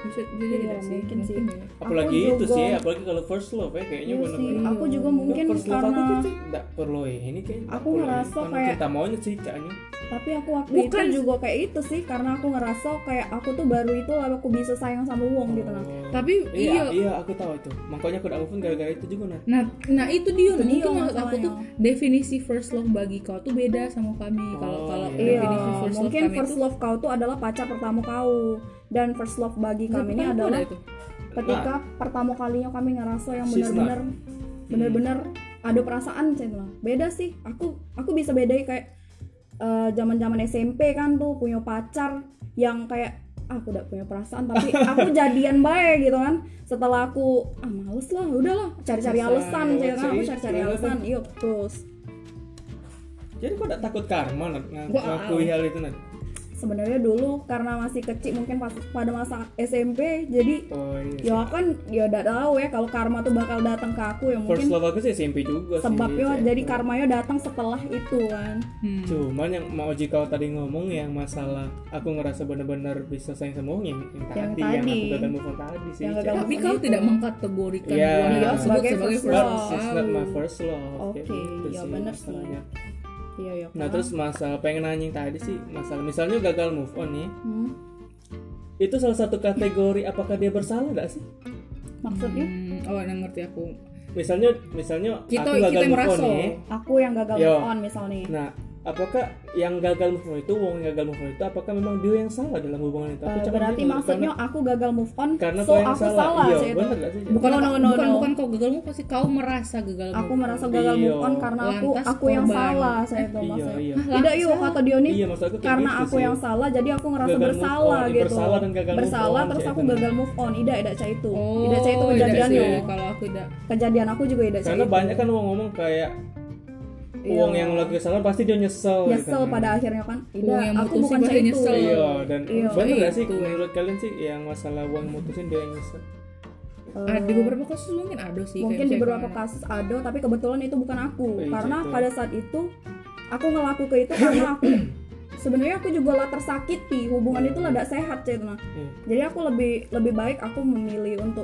[SPEAKER 1] bisa jadi
[SPEAKER 3] Iya,
[SPEAKER 1] tidak sih?
[SPEAKER 3] mungkin sih.
[SPEAKER 2] apalagi
[SPEAKER 3] Aku
[SPEAKER 2] itu
[SPEAKER 3] juga-
[SPEAKER 2] sih, apalagi kalau first love ya kayaknya
[SPEAKER 3] Iya sih,
[SPEAKER 2] benar-benar.
[SPEAKER 3] aku juga mungkin
[SPEAKER 2] first love
[SPEAKER 3] karena
[SPEAKER 2] aku tuh tidak perlu ya. Ini kayak nggak
[SPEAKER 3] Aku
[SPEAKER 2] perlu ya.
[SPEAKER 3] ngerasa
[SPEAKER 2] Karena
[SPEAKER 3] kayak- Iya, gitu
[SPEAKER 2] cinta maunya sih kayaknya.
[SPEAKER 3] tapi aku waktu
[SPEAKER 1] Bukan.
[SPEAKER 3] itu juga kayak itu sih karena aku ngerasa kayak aku tuh baru itu lalu aku bisa sayang sama Wong gitu nah.
[SPEAKER 1] tapi
[SPEAKER 2] iya,
[SPEAKER 1] iya
[SPEAKER 2] iya aku tahu itu. Makanya aku tidak move on gara-gara itu juga nah.
[SPEAKER 1] Nah, nah itu dia
[SPEAKER 3] Itu
[SPEAKER 1] mungkin
[SPEAKER 3] dia
[SPEAKER 1] menurut aku tuh definisi first love bagi kau tuh beda sama kami.
[SPEAKER 2] Oh,
[SPEAKER 1] Kalau kalau
[SPEAKER 2] iya.
[SPEAKER 1] definisi first
[SPEAKER 3] mungkin
[SPEAKER 1] love kami
[SPEAKER 3] first
[SPEAKER 1] tuh
[SPEAKER 3] love kau tuh adalah pacar pertama kau dan first love bagi
[SPEAKER 1] Menurut
[SPEAKER 3] kami ini
[SPEAKER 1] kamu ada
[SPEAKER 3] adalah
[SPEAKER 1] itu.
[SPEAKER 2] Nah,
[SPEAKER 3] ketika pertama kalinya kami ngerasa yang
[SPEAKER 2] She's
[SPEAKER 3] benar-benar benar-benar ada perasaan Cen, lah. Beda sih. Aku aku bisa bedain kayak eh, zaman-zaman SMP kan tuh punya pacar yang kayak ah, aku udah punya perasaan tapi aku jadian baik gitu kan setelah aku ah males lah udahlah cari-cari
[SPEAKER 2] Selesai.
[SPEAKER 3] alasan ya kan aku
[SPEAKER 2] Cari-
[SPEAKER 3] cari-cari
[SPEAKER 2] cari
[SPEAKER 3] alasan Iya, yuk terus
[SPEAKER 2] Jadi kok gak takut karma Nat, ng-
[SPEAKER 3] Gua-
[SPEAKER 2] ngakui hal itu Nat?
[SPEAKER 3] sebenarnya dulu karena masih kecil mungkin pas pada masa SMP jadi
[SPEAKER 2] Oh iya.
[SPEAKER 3] ya kan ya udah tahu ya kalau karma tuh bakal datang ke aku ya
[SPEAKER 2] First
[SPEAKER 3] mungkin
[SPEAKER 2] love aku sih SMP juga sih. ya.
[SPEAKER 3] sebabnya
[SPEAKER 2] SMP.
[SPEAKER 3] jadi karmanya datang setelah itu kan
[SPEAKER 1] Hmm.
[SPEAKER 2] Cuman yang mau Oji kau tadi ngomong yang masalah aku ngerasa bener-bener bisa sayang sama orang yang, yang
[SPEAKER 3] Yang
[SPEAKER 2] tadi yang
[SPEAKER 3] tadi.
[SPEAKER 2] aku gagal move on tadi sih.
[SPEAKER 3] Yang
[SPEAKER 2] Cek.
[SPEAKER 3] gagal
[SPEAKER 1] Tapi
[SPEAKER 3] Bukan
[SPEAKER 1] kau
[SPEAKER 3] itu.
[SPEAKER 1] tidak mengkategorikan
[SPEAKER 2] Iya.
[SPEAKER 1] hubungan
[SPEAKER 2] Iya,
[SPEAKER 1] tersebut
[SPEAKER 3] Gitu. sebagai
[SPEAKER 1] sebagai
[SPEAKER 3] first
[SPEAKER 1] first
[SPEAKER 2] But
[SPEAKER 3] love.
[SPEAKER 2] it's
[SPEAKER 1] love.
[SPEAKER 2] not my first love.
[SPEAKER 3] Oke,
[SPEAKER 2] kayak gitu
[SPEAKER 3] ya bener sih.
[SPEAKER 2] masalahnya.
[SPEAKER 3] iya ya
[SPEAKER 2] Nah
[SPEAKER 3] kan?
[SPEAKER 2] terus masalah pengen nanya yang tadi sih masalah misalnya gagal move on nih
[SPEAKER 3] Hmm,
[SPEAKER 2] itu salah satu kategori apakah dia bersalah gak sih?
[SPEAKER 3] maksudnya
[SPEAKER 1] Hmm, oh, nah, ngerti aku.
[SPEAKER 2] Misalnya misalnya
[SPEAKER 1] Kita
[SPEAKER 2] aku gagal
[SPEAKER 1] kita
[SPEAKER 2] move on
[SPEAKER 1] merasa.
[SPEAKER 2] nih.
[SPEAKER 3] aku yang gagal
[SPEAKER 2] Yo.
[SPEAKER 3] move on misalnya
[SPEAKER 2] Nah apakah yang gagal move on itu wong yang gagal move on itu apakah memang dia yang salah dalam hubungan itu? Aku
[SPEAKER 3] Eh,
[SPEAKER 2] cakap
[SPEAKER 3] berarti
[SPEAKER 2] gitu,
[SPEAKER 3] maksudnya aku gagal move on
[SPEAKER 2] karena, karena
[SPEAKER 3] so
[SPEAKER 2] kau yang
[SPEAKER 3] aku salah,
[SPEAKER 2] Iya
[SPEAKER 3] sih itu.
[SPEAKER 2] bener gak sih? Cek?
[SPEAKER 1] Bukan
[SPEAKER 3] No, no, no,
[SPEAKER 1] bukan
[SPEAKER 3] no.
[SPEAKER 1] bukan kau gagalmu pasti kau merasa gagal.
[SPEAKER 3] aku merasa gagal
[SPEAKER 2] Iya.
[SPEAKER 3] move on karena aku
[SPEAKER 1] Lantas
[SPEAKER 3] aku yang
[SPEAKER 1] korban.
[SPEAKER 3] salah saya itu
[SPEAKER 2] Iya
[SPEAKER 3] maksudnya
[SPEAKER 2] iya.
[SPEAKER 3] tidak yuk kata Dioni
[SPEAKER 2] Iya maksud aku kayak
[SPEAKER 3] karena
[SPEAKER 2] gitu
[SPEAKER 3] aku
[SPEAKER 2] sih.
[SPEAKER 3] yang salah jadi aku ngerasa
[SPEAKER 2] Gagal move
[SPEAKER 3] bersalah
[SPEAKER 2] on,
[SPEAKER 3] gitu
[SPEAKER 2] bersalah dan gagal move
[SPEAKER 3] Bersalah,
[SPEAKER 2] on,
[SPEAKER 3] terus
[SPEAKER 2] kayak
[SPEAKER 3] aku
[SPEAKER 2] gitu.
[SPEAKER 3] gagal move on tidak tidak cah itu
[SPEAKER 1] Oh,
[SPEAKER 3] tidak cah itu
[SPEAKER 1] iya
[SPEAKER 3] kejadian
[SPEAKER 1] sih.
[SPEAKER 3] yo
[SPEAKER 1] Kalau aku tidak.
[SPEAKER 3] kejadian aku juga tidak cah
[SPEAKER 2] Karena
[SPEAKER 3] itu
[SPEAKER 2] banyak kan orang ngomong kayak
[SPEAKER 3] Iya.
[SPEAKER 2] uang yang lagi salah pasti dia nyesel. gitu
[SPEAKER 3] nyesel
[SPEAKER 1] Iya.
[SPEAKER 2] kan.
[SPEAKER 3] pada akhirnya kan tidak
[SPEAKER 1] Uang yang
[SPEAKER 3] aku
[SPEAKER 1] mutusin
[SPEAKER 3] bukan
[SPEAKER 1] pasti
[SPEAKER 3] cah itu
[SPEAKER 1] nyesel.
[SPEAKER 2] Iya dan
[SPEAKER 3] Iya.
[SPEAKER 2] bener gak sih
[SPEAKER 1] Itu.
[SPEAKER 2] menurut kalian sih yang masalah uang mutusin dia yang nyesel?
[SPEAKER 1] Ada di beberapa kasus mungkin ada sih. Iya, kayak
[SPEAKER 3] mungkin di
[SPEAKER 1] misalnya
[SPEAKER 3] beberapa
[SPEAKER 1] karena-
[SPEAKER 3] kasus ada tapi kebetulan itu bukan aku
[SPEAKER 2] Iya,
[SPEAKER 3] karena
[SPEAKER 2] gitu.
[SPEAKER 3] pada saat itu aku ngelaku ke itu karena aku *clears throat* sebenarnya aku juga lah tersakiti hubungan itu lah tidak sehat cah itu nah
[SPEAKER 2] Iya.
[SPEAKER 3] jadi aku lebih lebih baik aku memilih untuk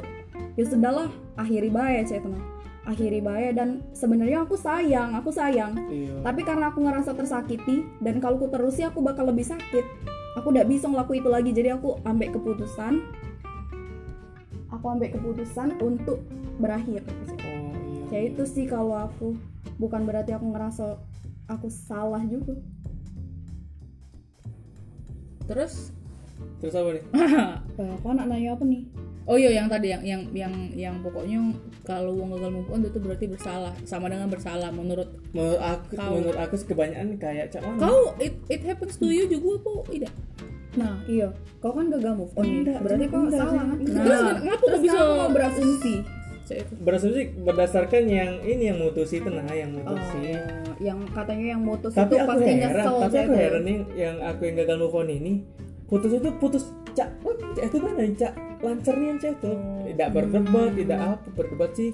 [SPEAKER 3] ya sudahlah akhiri baik saya teman akhiri baik dan sebenarnya aku sayang aku sayang
[SPEAKER 2] Iya.
[SPEAKER 3] tapi karena aku ngerasa tersakiti dan kalau aku terusin aku bakal lebih sakit aku tidak bisa ngelakuin itu lagi jadi aku ambek keputusan aku ambek keputusan untuk berakhir
[SPEAKER 2] Oh iya.
[SPEAKER 3] ya itu sih kalau aku bukan berarti aku ngerasa aku salah juga
[SPEAKER 1] Terus
[SPEAKER 2] Terus apa nih?
[SPEAKER 1] *laughs*
[SPEAKER 3] Eh, kau nak nanya apa nih
[SPEAKER 1] Oh iya yang tadi yang yang yang yang pokoknya kalau uang gagal move on itu berarti bersalah sama dengan bersalah menurut
[SPEAKER 2] Menurut aku,
[SPEAKER 1] Kau.
[SPEAKER 2] menurut aku sih kebanyakan kayak cak mana?
[SPEAKER 1] kau it, it happens to you juga apa tidak?
[SPEAKER 3] Nah, iya. Kau kan gagal move on nih.
[SPEAKER 1] Enggak,
[SPEAKER 3] Berarti kau
[SPEAKER 1] enggak,
[SPEAKER 3] salah kan?
[SPEAKER 1] enggak.
[SPEAKER 3] Terus
[SPEAKER 1] Nah, Terus
[SPEAKER 3] kan-
[SPEAKER 1] kenapa
[SPEAKER 3] terus
[SPEAKER 1] kau bisa-
[SPEAKER 3] kamu mau berasumsi?
[SPEAKER 1] Saya itu.
[SPEAKER 2] Berasumsi berdasarkan yang ini yang mutusin itu nah yang mutusin.
[SPEAKER 3] Oh, yang katanya yang mutus
[SPEAKER 2] tapi
[SPEAKER 3] itu
[SPEAKER 2] aku
[SPEAKER 3] pasti
[SPEAKER 2] heran,
[SPEAKER 3] nyesel. gitu.
[SPEAKER 2] tapi
[SPEAKER 3] saya
[SPEAKER 2] aku
[SPEAKER 3] tuh.
[SPEAKER 2] heran nih yang aku yang gagal move on ini putus itu putus cak wah, cak itu mana cak lancar nih yang cak
[SPEAKER 3] Oh.
[SPEAKER 2] itu tidak berdebat tidak apa berdebat sih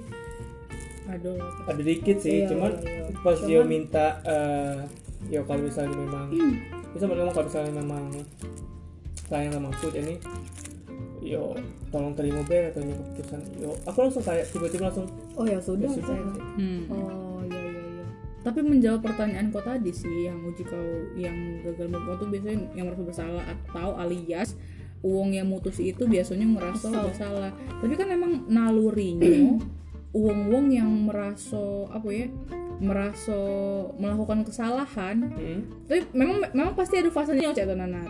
[SPEAKER 1] Aduh.
[SPEAKER 2] ada dikit sih
[SPEAKER 3] Iya,
[SPEAKER 2] cuman
[SPEAKER 3] iya, iya.
[SPEAKER 2] pas dia
[SPEAKER 3] Cuman-
[SPEAKER 2] minta eh ya kalau misalnya memang bisa ngomong kalau misalnya memang sayang sama aku ini yo tolong terima bayar atau keputusan yo aku langsung kayak tiba-tiba langsung
[SPEAKER 3] Oh ya sudah.
[SPEAKER 2] Ya sudah.
[SPEAKER 3] saya tuh.
[SPEAKER 1] Hmm.
[SPEAKER 3] Oh iya iya iya.
[SPEAKER 1] Tapi menjawab pertanyaan kau tadi sih yang uji kau yang gagal move on itu biasanya yang merasa bersalah atau alias uang yang mutus itu biasanya merasa
[SPEAKER 3] Kesel.
[SPEAKER 1] bersalah. Tapi kan emang *clears throat* nalurinya uang-uang yang merasa apa ya? merasa melakukan kesalahan
[SPEAKER 2] hmm,
[SPEAKER 1] tapi memang memang pasti ada fasenya cek nanat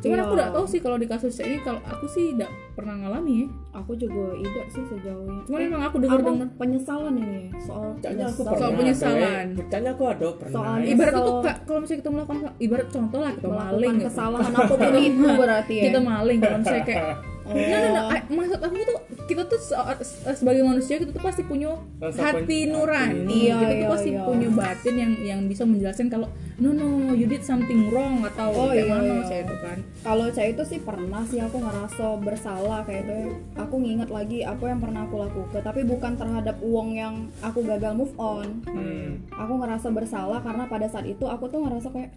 [SPEAKER 1] cuman
[SPEAKER 3] Iya.
[SPEAKER 1] aku udah tahu sih kalau di kasus cek ini kalau aku sih tidak pernah ngalami ya
[SPEAKER 3] Aku juga tidak sih sejauh ini.
[SPEAKER 1] cuman memang aku dengar
[SPEAKER 3] Aku
[SPEAKER 1] dengar
[SPEAKER 3] penyesalan ini ya, soal
[SPEAKER 2] caknya aku
[SPEAKER 3] nyesel.
[SPEAKER 2] pernah
[SPEAKER 1] Soal
[SPEAKER 2] ada,
[SPEAKER 1] penyesalan.
[SPEAKER 2] eh. caknya aku ada pernah
[SPEAKER 3] Soal
[SPEAKER 2] eh.
[SPEAKER 1] ibarat
[SPEAKER 3] Kesel.
[SPEAKER 1] tuh Kak, kalau misalnya kita melakukan ibarat contoh lah kita maling
[SPEAKER 3] melakukan
[SPEAKER 1] gitu.
[SPEAKER 3] kesalahan
[SPEAKER 1] *laughs*
[SPEAKER 3] apapun itu berarti ya.
[SPEAKER 1] kita maling kalau misalnya kayak
[SPEAKER 3] *laughs* Oh.
[SPEAKER 1] Nah, nah, nah, I- maksud aku tuh kita tuh se- se- sebagai manusia kita tuh pasti punya
[SPEAKER 2] Rasa
[SPEAKER 1] hati
[SPEAKER 2] pen-
[SPEAKER 1] nurani,
[SPEAKER 3] hati. Iya,
[SPEAKER 1] kita tuh
[SPEAKER 3] iya,
[SPEAKER 1] pasti
[SPEAKER 3] iya.
[SPEAKER 1] punya batin yang yang bisa menjelaskan kalau no no you did something wrong atau
[SPEAKER 3] Oh,
[SPEAKER 1] kayak
[SPEAKER 3] iya,
[SPEAKER 1] mana
[SPEAKER 3] iya.
[SPEAKER 1] saya itu kan.
[SPEAKER 3] Kalau saya itu sih pernah sih aku ngerasa bersalah kayak itu. ya. Aku nginget lagi apa yang pernah aku lakukan, tapi bukan terhadap uang yang aku gagal move on.
[SPEAKER 2] Hmm.
[SPEAKER 3] Aku ngerasa bersalah karena pada saat itu aku tuh ngerasa kayak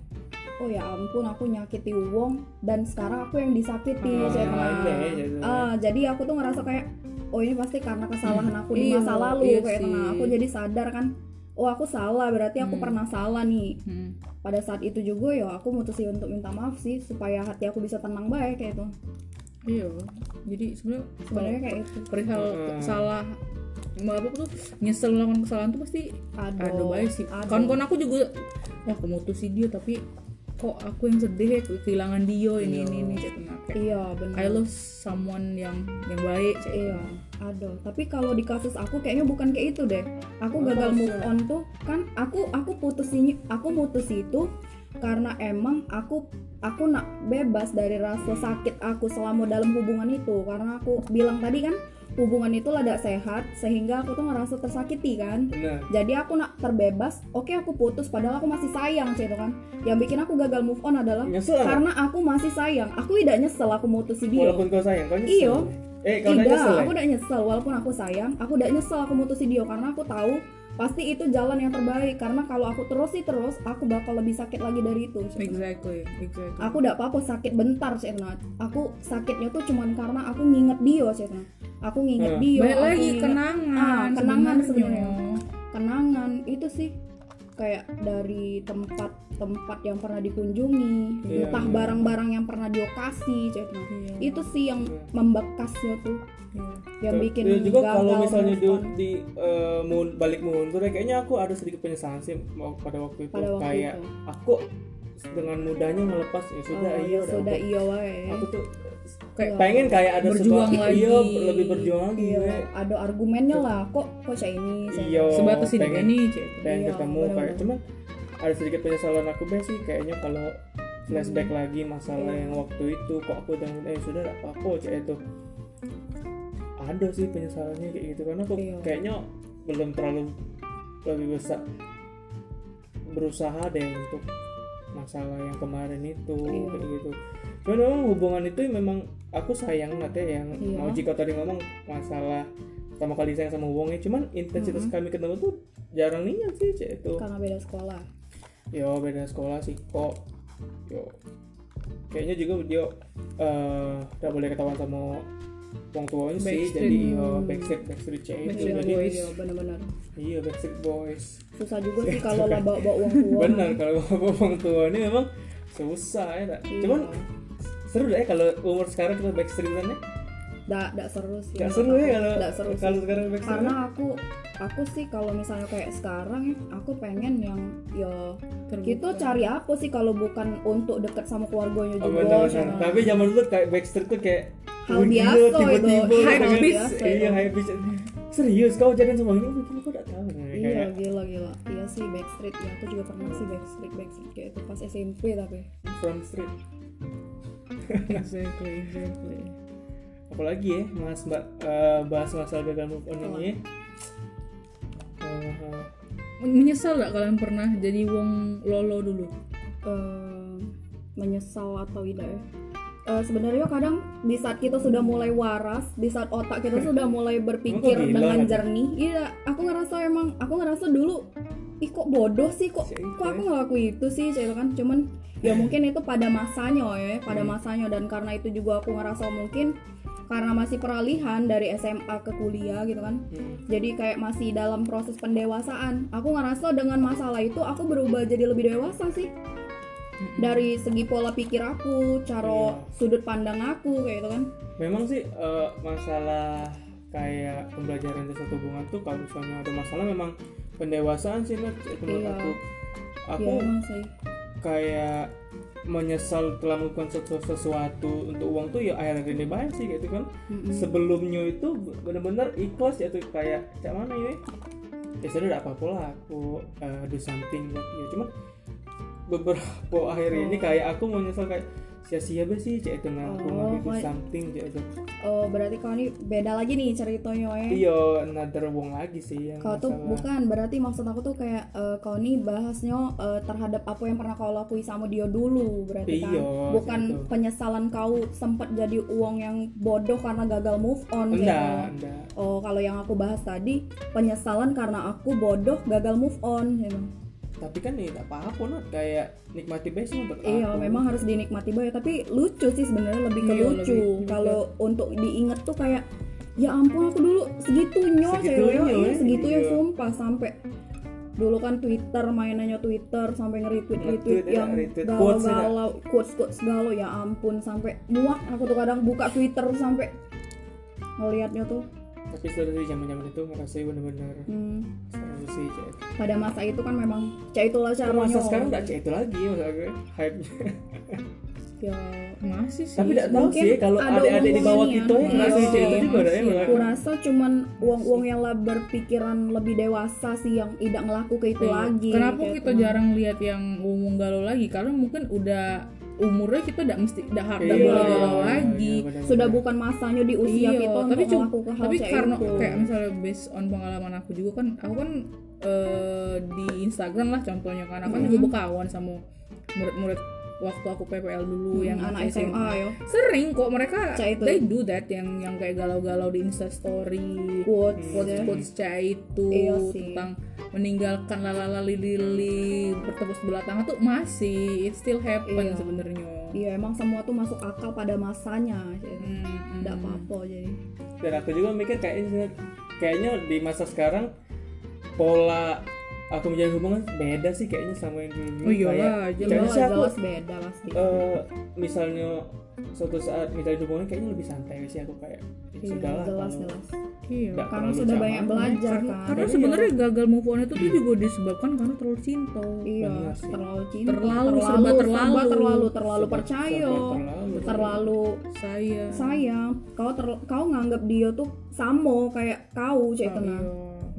[SPEAKER 3] oh ya ampun aku nyakiti uang dan sekarang aku yang disakiti.
[SPEAKER 2] Oh,
[SPEAKER 3] saya
[SPEAKER 2] yang
[SPEAKER 3] pernah.
[SPEAKER 2] lain deh, jadi lain.
[SPEAKER 3] Ah, jadi aku tuh ngerasa kayak oh ini pasti karena kesalahan aku di
[SPEAKER 1] Iya,
[SPEAKER 3] masa lalu
[SPEAKER 1] iya
[SPEAKER 3] kayak
[SPEAKER 1] sih.
[SPEAKER 3] tengah. Aku jadi sadar kan. Oh aku salah berarti aku pernah salah nih
[SPEAKER 1] Hmm.
[SPEAKER 3] pada saat itu juga ya aku mutusin untuk minta maaf sih supaya hati aku bisa tenang baik kayak itu
[SPEAKER 1] Iya. Jadi sebenarnya Iya.
[SPEAKER 3] sebenarnya kayak itu
[SPEAKER 1] perihal
[SPEAKER 2] Hmm.
[SPEAKER 1] salah apa tuh nyesel melakukan kesalahan tuh pasti
[SPEAKER 3] aduh
[SPEAKER 1] aduh baik sih
[SPEAKER 3] aduh.
[SPEAKER 1] kawan-kawan aku juga ya aku mutusin dia tapi kok aku yang sedih aku kehilangan dia ini ini ini cek tenang. Kayak,
[SPEAKER 3] iya
[SPEAKER 1] I
[SPEAKER 3] benar
[SPEAKER 1] love someone yang yang baik cek.
[SPEAKER 3] iya aduh tapi kalau di kasus aku kayaknya bukan kayak itu deh aku
[SPEAKER 2] Apa
[SPEAKER 3] gagal move
[SPEAKER 2] maksudnya?
[SPEAKER 3] on tuh kan aku aku putusin aku mutus itu karena emang aku aku nak bebas dari rasa sakit aku selama dalam hubungan itu karena aku bilang tadi kan hubungan itu lada sehat sehingga aku tuh ngerasa tersakiti kan
[SPEAKER 2] benar
[SPEAKER 3] jadi aku nak terbebas oke aku putus padahal aku masih sayang gitu kan yang bikin aku gagal move on adalah
[SPEAKER 2] nyesel nggak?
[SPEAKER 3] karena aku masih sayang aku tidak nyesel aku mutusi dia
[SPEAKER 2] walaupun kau sayang kau nyesel
[SPEAKER 3] Iya. Iyo.
[SPEAKER 2] eh kau
[SPEAKER 3] tidak
[SPEAKER 2] nggak nyesel ya?
[SPEAKER 3] aku tidak nyesel walaupun aku sayang aku tidak nyesel aku mutusi dia karena aku tahu pasti itu jalan yang terbaik karena kalau aku terus sih terus aku bakal lebih sakit lagi dari itu Cik Nat.
[SPEAKER 1] exactly exactly
[SPEAKER 3] aku tidak apa-apa sakit bentar Cik Nat. aku sakitnya tuh cuman karena aku nginget dia Cik Nat. aku nginget
[SPEAKER 2] Hmm.
[SPEAKER 3] dia
[SPEAKER 1] Balik
[SPEAKER 3] iya, aku
[SPEAKER 1] lagi
[SPEAKER 3] nginget
[SPEAKER 1] kenangan,
[SPEAKER 3] Ah, kenangan
[SPEAKER 1] sebenarnya.
[SPEAKER 3] kenangan itu sih kayak dari tempat-tempat yang pernah dikunjungi
[SPEAKER 2] Iya,
[SPEAKER 3] entah
[SPEAKER 2] iya.
[SPEAKER 3] barang-barang yang pernah dia kasih Cik Nat.
[SPEAKER 1] Iya.
[SPEAKER 3] itu sih yang
[SPEAKER 2] Iya.
[SPEAKER 3] membekasnya tuh
[SPEAKER 1] Iya.
[SPEAKER 3] yang
[SPEAKER 2] Ter-
[SPEAKER 3] bikin
[SPEAKER 2] dan juga
[SPEAKER 3] gagal
[SPEAKER 2] kalau misalnya
[SPEAKER 3] move
[SPEAKER 2] di,
[SPEAKER 3] on.
[SPEAKER 2] di eh, mun- balik mundur ya, kayaknya aku ada sedikit penyesalan sih mau- pada waktu itu
[SPEAKER 3] pada waktu
[SPEAKER 2] kayak
[SPEAKER 3] itu
[SPEAKER 2] aku dengan mudahnya melepas ya sudah iya
[SPEAKER 3] Oh, ya
[SPEAKER 2] udah,
[SPEAKER 3] sudah
[SPEAKER 2] aku,
[SPEAKER 3] iya wae
[SPEAKER 2] aku tuh
[SPEAKER 1] kayak
[SPEAKER 3] Iya.
[SPEAKER 2] pengen kayak ada
[SPEAKER 1] Berjuang
[SPEAKER 2] sesuatu-
[SPEAKER 1] lagi.
[SPEAKER 2] iya lebih berjuang lagi
[SPEAKER 3] iya
[SPEAKER 2] gue
[SPEAKER 3] ada argumennya lah kok kok saya ini saya
[SPEAKER 2] iya
[SPEAKER 1] sebatas hidup
[SPEAKER 2] pengen,
[SPEAKER 1] ini cek
[SPEAKER 2] pengen
[SPEAKER 3] Iya,
[SPEAKER 2] ketemu kayak
[SPEAKER 3] benar-benar.
[SPEAKER 2] cuman ada sedikit penyesalan aku Beh, sih kayaknya kalau flashback lagi masalah
[SPEAKER 3] Iya.
[SPEAKER 2] yang waktu itu kok aku udah eh sudah gak apa-apa cek itu ada sih penyesalannya kayak gitu karena aku
[SPEAKER 3] Iya.
[SPEAKER 2] kayaknya belum terlalu lebih besar berusaha deh untuk masalah yang kemarin itu
[SPEAKER 3] Iya.
[SPEAKER 2] kayak gitu cuman memang hubungan itu memang aku sayang banget ya yang
[SPEAKER 3] Iya.
[SPEAKER 2] mau jika tadi ngomong masalah pertama kali sayang sama hubungannya cuman intensitas
[SPEAKER 3] Mhm.
[SPEAKER 2] kami ketemu tuh jarang niat sih cek itu
[SPEAKER 3] karena beda sekolah
[SPEAKER 2] yo beda sekolah sih kok yo kayaknya juga dia eh nggak boleh ketahuan sama orang tuanya sih
[SPEAKER 1] Backstreet.
[SPEAKER 2] jadi yo
[SPEAKER 3] Hmm.
[SPEAKER 2] backstreet backstreet cek itu
[SPEAKER 1] Backstreet
[SPEAKER 2] jadi
[SPEAKER 1] Boys.
[SPEAKER 3] iya benar-benar
[SPEAKER 2] iya backstreet boys
[SPEAKER 3] susah juga
[SPEAKER 2] *laughs*
[SPEAKER 3] sih kalau lah bawa bawa uang tua
[SPEAKER 2] benar kalau orang tua ini memang susah ya tak?
[SPEAKER 3] Iya.
[SPEAKER 2] cuman seru deh kalau umur sekarang kita backstreetan ya
[SPEAKER 3] Dak- dak seru sih
[SPEAKER 2] nggak seru ya kalau
[SPEAKER 3] Dak seru sih.
[SPEAKER 2] kalau sekarang backstreetan
[SPEAKER 3] karena aku aku sih kalau misalnya kayak sekarang ya, aku pengen yang ya gitu cari apa sih kalau bukan untuk deket sama keluarganya
[SPEAKER 2] Oh,
[SPEAKER 3] juga
[SPEAKER 2] benar, benar.
[SPEAKER 3] Cina.
[SPEAKER 2] Tapi zaman dulu kayak Backstreet tuh kayak
[SPEAKER 3] Hal
[SPEAKER 2] wah,
[SPEAKER 3] biasa
[SPEAKER 2] gila,
[SPEAKER 3] itu.
[SPEAKER 2] tiba-tiba
[SPEAKER 3] Hal
[SPEAKER 2] gitu kan.
[SPEAKER 1] biasa
[SPEAKER 3] itu.
[SPEAKER 2] Iya, hype bitch. Serius kau jadian sama ini? Wah, gila, kau gak tahu.
[SPEAKER 3] Iya gila gila Iya sih backstreet ya Aku juga pernah sih backstreet Backstreet kayak itu pas SMP tapi
[SPEAKER 2] From street.
[SPEAKER 1] exactly exactly
[SPEAKER 2] Apalagi ya, Mas Mbak eh, bahas masalah gagal move on
[SPEAKER 3] Apa?
[SPEAKER 2] ini. ya. Eh, eh,
[SPEAKER 1] menyesal gak kalian pernah jadi wong lolo dulu
[SPEAKER 3] eh, Menyesal atau tidak ya Eh, Sebenarnya kadang di saat kita sudah mulai waras Di saat otak kita sudah
[SPEAKER 2] *laughs*
[SPEAKER 3] mulai berpikir
[SPEAKER 2] Emang kok gila gitu?
[SPEAKER 3] dengan
[SPEAKER 2] lagi?
[SPEAKER 3] jernih Iya aku ngerasa emang Aku ngerasa dulu Ih kok bodoh sih kok,
[SPEAKER 2] Cek itu
[SPEAKER 3] kok aku
[SPEAKER 2] ya.
[SPEAKER 3] ngelakuin itu sih Cek itu kan Cuman ya mungkin itu pada masanya ya Pada
[SPEAKER 2] Hmm.
[SPEAKER 3] masanya dan karena itu juga aku ngerasa mungkin Karena masih peralihan dari SMA ke kuliah gitu kan
[SPEAKER 2] hmm.
[SPEAKER 3] jadi kayak masih dalam proses pendewasaan aku ngerasa dengan masalah itu aku berubah jadi lebih dewasa sih dari segi pola pikir aku cara
[SPEAKER 2] Iya.
[SPEAKER 3] sudut pandang aku kayak gitu kan
[SPEAKER 2] Memang sih eh, masalah kayak pembelajaran dari satu hubungan tuh kalau misalnya ada masalah memang pendewasaan sih Nat, itu menurut
[SPEAKER 3] Iya.
[SPEAKER 2] aku. Aku
[SPEAKER 3] Iya emang sih
[SPEAKER 2] kayak menyesal telah melakukan sesu- sesuatu untuk uang tuh ya akhirnya ini baik sih gitu kan
[SPEAKER 3] Mm-mm.
[SPEAKER 2] sebelumnya itu bener-bener ikhlas ya tuh kayak cak mana ya ya sudah tidak apa-apa lah aku eh, do something buat dia cuma beberapa *laughs* akhir ini kayak aku menyesal kayak sia-sia be sih cak itu nah aku
[SPEAKER 3] Oh,
[SPEAKER 2] mau do
[SPEAKER 3] kayak-
[SPEAKER 2] something cak itu
[SPEAKER 3] oh berarti kau ini beda lagi nih ceritanya ya
[SPEAKER 2] iya another wong lagi sih yang
[SPEAKER 3] kau tuh
[SPEAKER 2] masalah.
[SPEAKER 3] bukan berarti maksud aku tuh kayak eh, kau nih bahasnya eh, terhadap apa yang pernah kau lakui sama dia dulu berarti kan
[SPEAKER 2] Iya,
[SPEAKER 3] bukan
[SPEAKER 2] gitu.
[SPEAKER 3] penyesalan kau sempat jadi uang yang bodoh karena gagal move on kayak
[SPEAKER 2] enggak
[SPEAKER 3] gitu.
[SPEAKER 2] enggak
[SPEAKER 3] Oh, kalau yang aku bahas tadi, penyesalan karena aku bodoh gagal move on. ya.
[SPEAKER 2] tapi kan ya tidak apa-apa Nat. kayak nikmati best untuk
[SPEAKER 3] Iya,
[SPEAKER 2] aku.
[SPEAKER 3] memang harus dinikmati banget, tapi lucu sih sebenarnya lebih ke
[SPEAKER 1] Iya,
[SPEAKER 3] lucu.
[SPEAKER 1] lebih-
[SPEAKER 3] Kalau untuk diinget tuh kayak ya ampun aku dulu segitunya,
[SPEAKER 2] Segitunya,
[SPEAKER 3] cewek. Iya,
[SPEAKER 2] ya.
[SPEAKER 3] segitunya
[SPEAKER 2] Iya.
[SPEAKER 3] sumpah sampai dulu kan Twitter mainannya Twitter sampai nge-retweet retweet
[SPEAKER 2] Nge-tweet, ya,
[SPEAKER 3] yang
[SPEAKER 2] retweet. Quotes, ya,
[SPEAKER 3] galau-galau quotes quotes galau ya ampun sampai muak aku tuh kadang buka Twitter sampai ngelihatnya tuh
[SPEAKER 2] tapi setelah dari zaman zaman itu ngerasain bener-bener
[SPEAKER 3] hmm,
[SPEAKER 2] seru sih cak itu
[SPEAKER 3] pada masa itu kan memang cah itulah
[SPEAKER 2] Tapi masa
[SPEAKER 3] caranya
[SPEAKER 2] sekarang nggak cak itu lagi maksud aku hype
[SPEAKER 1] ya masih sih
[SPEAKER 2] tapi tidak tahu
[SPEAKER 3] Mungkin
[SPEAKER 2] sih kalau
[SPEAKER 3] ada
[SPEAKER 2] adik-adik di bawah
[SPEAKER 1] omongannya.
[SPEAKER 2] kita yang ngasih
[SPEAKER 1] Iya,
[SPEAKER 2] cerita
[SPEAKER 1] iya,
[SPEAKER 2] juga ada yang
[SPEAKER 1] masih.
[SPEAKER 3] Aku
[SPEAKER 2] ngasih.
[SPEAKER 3] rasa cuman uang-uang yang lah berpikiran lebih dewasa sih yang tidak ngelaku ke itu
[SPEAKER 1] Iya.
[SPEAKER 3] lagi. gitu.
[SPEAKER 1] kenapa
[SPEAKER 3] Kayak
[SPEAKER 1] kita
[SPEAKER 3] cuman-
[SPEAKER 1] jarang lihat yang umum galau lagi karena mungkin udah umurnya kita tidak mesti tidak harus
[SPEAKER 2] Iya,
[SPEAKER 1] boleh
[SPEAKER 2] iya,
[SPEAKER 1] galau
[SPEAKER 2] iya,
[SPEAKER 1] lagi
[SPEAKER 2] benar-benar.
[SPEAKER 3] sudah bukan masanya di usia
[SPEAKER 1] Iya,
[SPEAKER 3] kita
[SPEAKER 1] tapi
[SPEAKER 3] untuk
[SPEAKER 1] cum-
[SPEAKER 3] ngelaku ke hal
[SPEAKER 1] tapi
[SPEAKER 3] kayak
[SPEAKER 1] karena
[SPEAKER 3] itu.
[SPEAKER 1] kayak misalnya based on pengalaman aku juga kan aku kan eh, di Instagram lah contohnya kan aku kan
[SPEAKER 3] Mm-hmm.
[SPEAKER 1] juga berkawan sama murid-murid waktu aku PPL dulu
[SPEAKER 3] Hmm,
[SPEAKER 1] yang
[SPEAKER 3] anak
[SPEAKER 1] aku
[SPEAKER 3] SMA ya.
[SPEAKER 1] sering kok mereka
[SPEAKER 3] Cah itu.
[SPEAKER 1] they do that yang yang kayak galau-galau di Insta story
[SPEAKER 3] Quotes,
[SPEAKER 1] quotes
[SPEAKER 3] ya.
[SPEAKER 1] quotes cah itu
[SPEAKER 3] Iya sih.
[SPEAKER 1] tentang meninggalkan lalala lili bertepuk sebelah tangan tuh masih it still happen
[SPEAKER 3] Iya.
[SPEAKER 1] sebenarnya
[SPEAKER 3] Iya, emang semua tuh masuk akal pada masanya. Tidak
[SPEAKER 1] Hmm, hmm.
[SPEAKER 3] apa-apa jadi.
[SPEAKER 2] dan aku juga mikir kayaknya kayaknya di masa sekarang pola aku menjalin hubungan beda sih kayaknya sama yang dulu
[SPEAKER 1] Oh, iyalah,
[SPEAKER 2] kayak
[SPEAKER 1] jelas.
[SPEAKER 2] kayaknya
[SPEAKER 3] iya, Jelas,
[SPEAKER 2] sih aku
[SPEAKER 3] jelas beda pasti.
[SPEAKER 1] Oh,
[SPEAKER 2] eh, misalnya suatu saat menjalin hubungan kayaknya lebih santai sih aku kayak ya
[SPEAKER 3] Iya,
[SPEAKER 2] sudahlah
[SPEAKER 3] jelas,
[SPEAKER 2] kalau
[SPEAKER 3] jelas.
[SPEAKER 1] Iya.
[SPEAKER 2] nggak
[SPEAKER 3] Karena
[SPEAKER 2] terlalu
[SPEAKER 3] sudah
[SPEAKER 2] sama.
[SPEAKER 3] banyak belajar
[SPEAKER 1] karena,
[SPEAKER 3] kan.
[SPEAKER 1] karena
[SPEAKER 2] Iya.
[SPEAKER 1] sebenarnya gagal move on itu tuh juga disebabkan karena terlalu cinta
[SPEAKER 3] Iya,
[SPEAKER 2] Benar sih.
[SPEAKER 3] terlalu cinta,
[SPEAKER 1] Terlalu, serba
[SPEAKER 3] serba
[SPEAKER 1] terlalu.
[SPEAKER 3] terlalu, terlalu
[SPEAKER 2] Serba-
[SPEAKER 3] percaya,
[SPEAKER 2] serba terlalu.
[SPEAKER 3] terlalu
[SPEAKER 1] saya
[SPEAKER 3] sayang. Kau terl- kau nganggap dia tuh samo kayak kau cek tenang.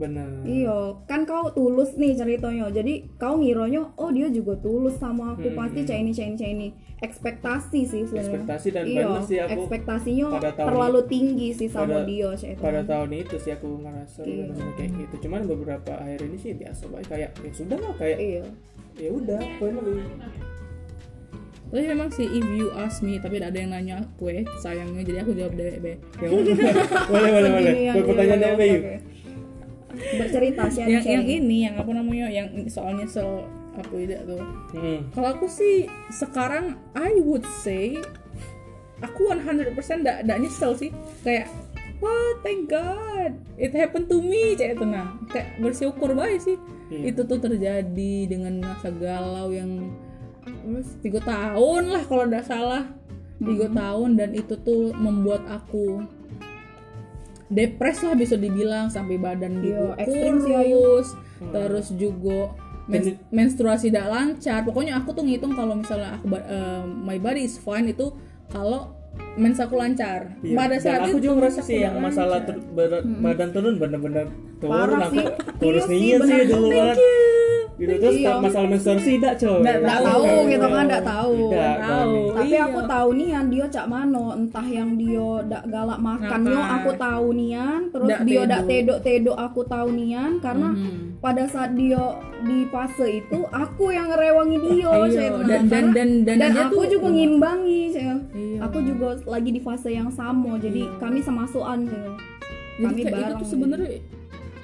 [SPEAKER 2] benar
[SPEAKER 3] Iya, kan kau tulus nih ceritanya. Jadi kau ngironyo, oh dia juga tulus sama aku
[SPEAKER 2] Hmm.
[SPEAKER 3] pasti cah ini cah ini cah ini. Ekspektasi sih sebenarnya.
[SPEAKER 2] ekspektasi dan
[SPEAKER 3] Iya,
[SPEAKER 2] benar sih aku
[SPEAKER 3] ekspektasinya
[SPEAKER 2] pada tahun-
[SPEAKER 3] terlalu tinggi sih sama
[SPEAKER 2] pada-
[SPEAKER 3] dia cah itu.
[SPEAKER 2] pada tahun itu sih aku ngerasa
[SPEAKER 3] Iya.
[SPEAKER 2] ngerasa kayak gitu cuman beberapa akhir ini sih biasa baik kayak ya sudah lah kayak
[SPEAKER 3] Iya.
[SPEAKER 2] ya udah poin lebih
[SPEAKER 1] tapi memang sih if you ask me tapi ada yang nanya aku ya sayangnya jadi aku jawab deh be
[SPEAKER 2] yang Ya
[SPEAKER 3] *laughs*
[SPEAKER 2] boleh boleh boleh
[SPEAKER 3] Begini yang
[SPEAKER 2] Gue pertanyaan
[SPEAKER 3] iya,
[SPEAKER 2] apa
[SPEAKER 3] iya,
[SPEAKER 2] yuk
[SPEAKER 3] oke. Bercerita sharing,
[SPEAKER 1] yang yang
[SPEAKER 3] sharing.
[SPEAKER 1] ini yang apa namanya yang soalnya nyesel apa tidak tuh
[SPEAKER 2] hmm.
[SPEAKER 1] kalau aku sih sekarang I would say aku 100% ndak ndak nyesel sih kayak wah thank god it happened to me kayak itu nah kayak bersyukur banget sih
[SPEAKER 2] Iya.
[SPEAKER 1] itu tuh terjadi dengan masa galau yang terus tiga tahun lah kalau ndak salah
[SPEAKER 3] Hmm.
[SPEAKER 1] tiga tahun dan itu tuh membuat aku depres lah bisa dibilang sampai badan
[SPEAKER 3] Iya,
[SPEAKER 1] juga
[SPEAKER 3] ekstrim sih, Ayu.
[SPEAKER 1] kurus
[SPEAKER 2] Hmm.
[SPEAKER 1] terus juga men-
[SPEAKER 2] Jadi-
[SPEAKER 1] menstruasi tidak lancar pokoknya aku tuh ngitung kalau misalnya aku ba- eh, my body is fine itu kalau mens aku lancar
[SPEAKER 2] Iya.
[SPEAKER 1] pada
[SPEAKER 2] Dan
[SPEAKER 1] saat
[SPEAKER 2] aku
[SPEAKER 1] itu
[SPEAKER 2] juga ngerasa
[SPEAKER 1] mens
[SPEAKER 2] sih
[SPEAKER 1] aku
[SPEAKER 2] yang
[SPEAKER 1] nggak
[SPEAKER 2] masalah
[SPEAKER 1] lancar.
[SPEAKER 2] tur- ber- badan turun bener-bener turun
[SPEAKER 3] Parah
[SPEAKER 2] aku
[SPEAKER 3] sih.
[SPEAKER 2] kurus
[SPEAKER 3] Iya sih,
[SPEAKER 2] dingin sih
[SPEAKER 3] bener.
[SPEAKER 2] dulu
[SPEAKER 3] Thank
[SPEAKER 2] banget gitu terus
[SPEAKER 3] Iya.
[SPEAKER 2] masalah menstruasi tidak coy Iya.
[SPEAKER 1] Nggak
[SPEAKER 3] Nggak
[SPEAKER 1] tahu,
[SPEAKER 3] tahu gitu kan,
[SPEAKER 2] Nggak
[SPEAKER 3] nggak tahu.
[SPEAKER 2] Nggak
[SPEAKER 1] tahu.
[SPEAKER 2] tahu.
[SPEAKER 3] Tapi
[SPEAKER 1] Iya.
[SPEAKER 3] aku tahu nian dia cak mano, entah yang dia dak galak makannya
[SPEAKER 1] Makan.
[SPEAKER 3] aku tahu nian, terus
[SPEAKER 1] Dak
[SPEAKER 3] dia dak
[SPEAKER 1] tedok.
[SPEAKER 3] tedok-tedok aku tahu nian karena
[SPEAKER 1] Mhm.
[SPEAKER 3] pada saat dia di fase itu aku yang ngerewangi dia
[SPEAKER 1] Ayo,
[SPEAKER 3] Cak. Nah,
[SPEAKER 1] Iya, dan dan dan dan,
[SPEAKER 3] karena- dan
[SPEAKER 1] dia
[SPEAKER 3] aku
[SPEAKER 1] tuh-
[SPEAKER 3] juga ngimbangi Cak.
[SPEAKER 1] Iya.
[SPEAKER 3] aku juga lagi di fase yang sama jadi
[SPEAKER 1] Iya.
[SPEAKER 3] kami sama-soan Cak.
[SPEAKER 1] jadi
[SPEAKER 3] kami
[SPEAKER 1] kayak itu
[SPEAKER 3] bareng
[SPEAKER 1] tuh sebenarnya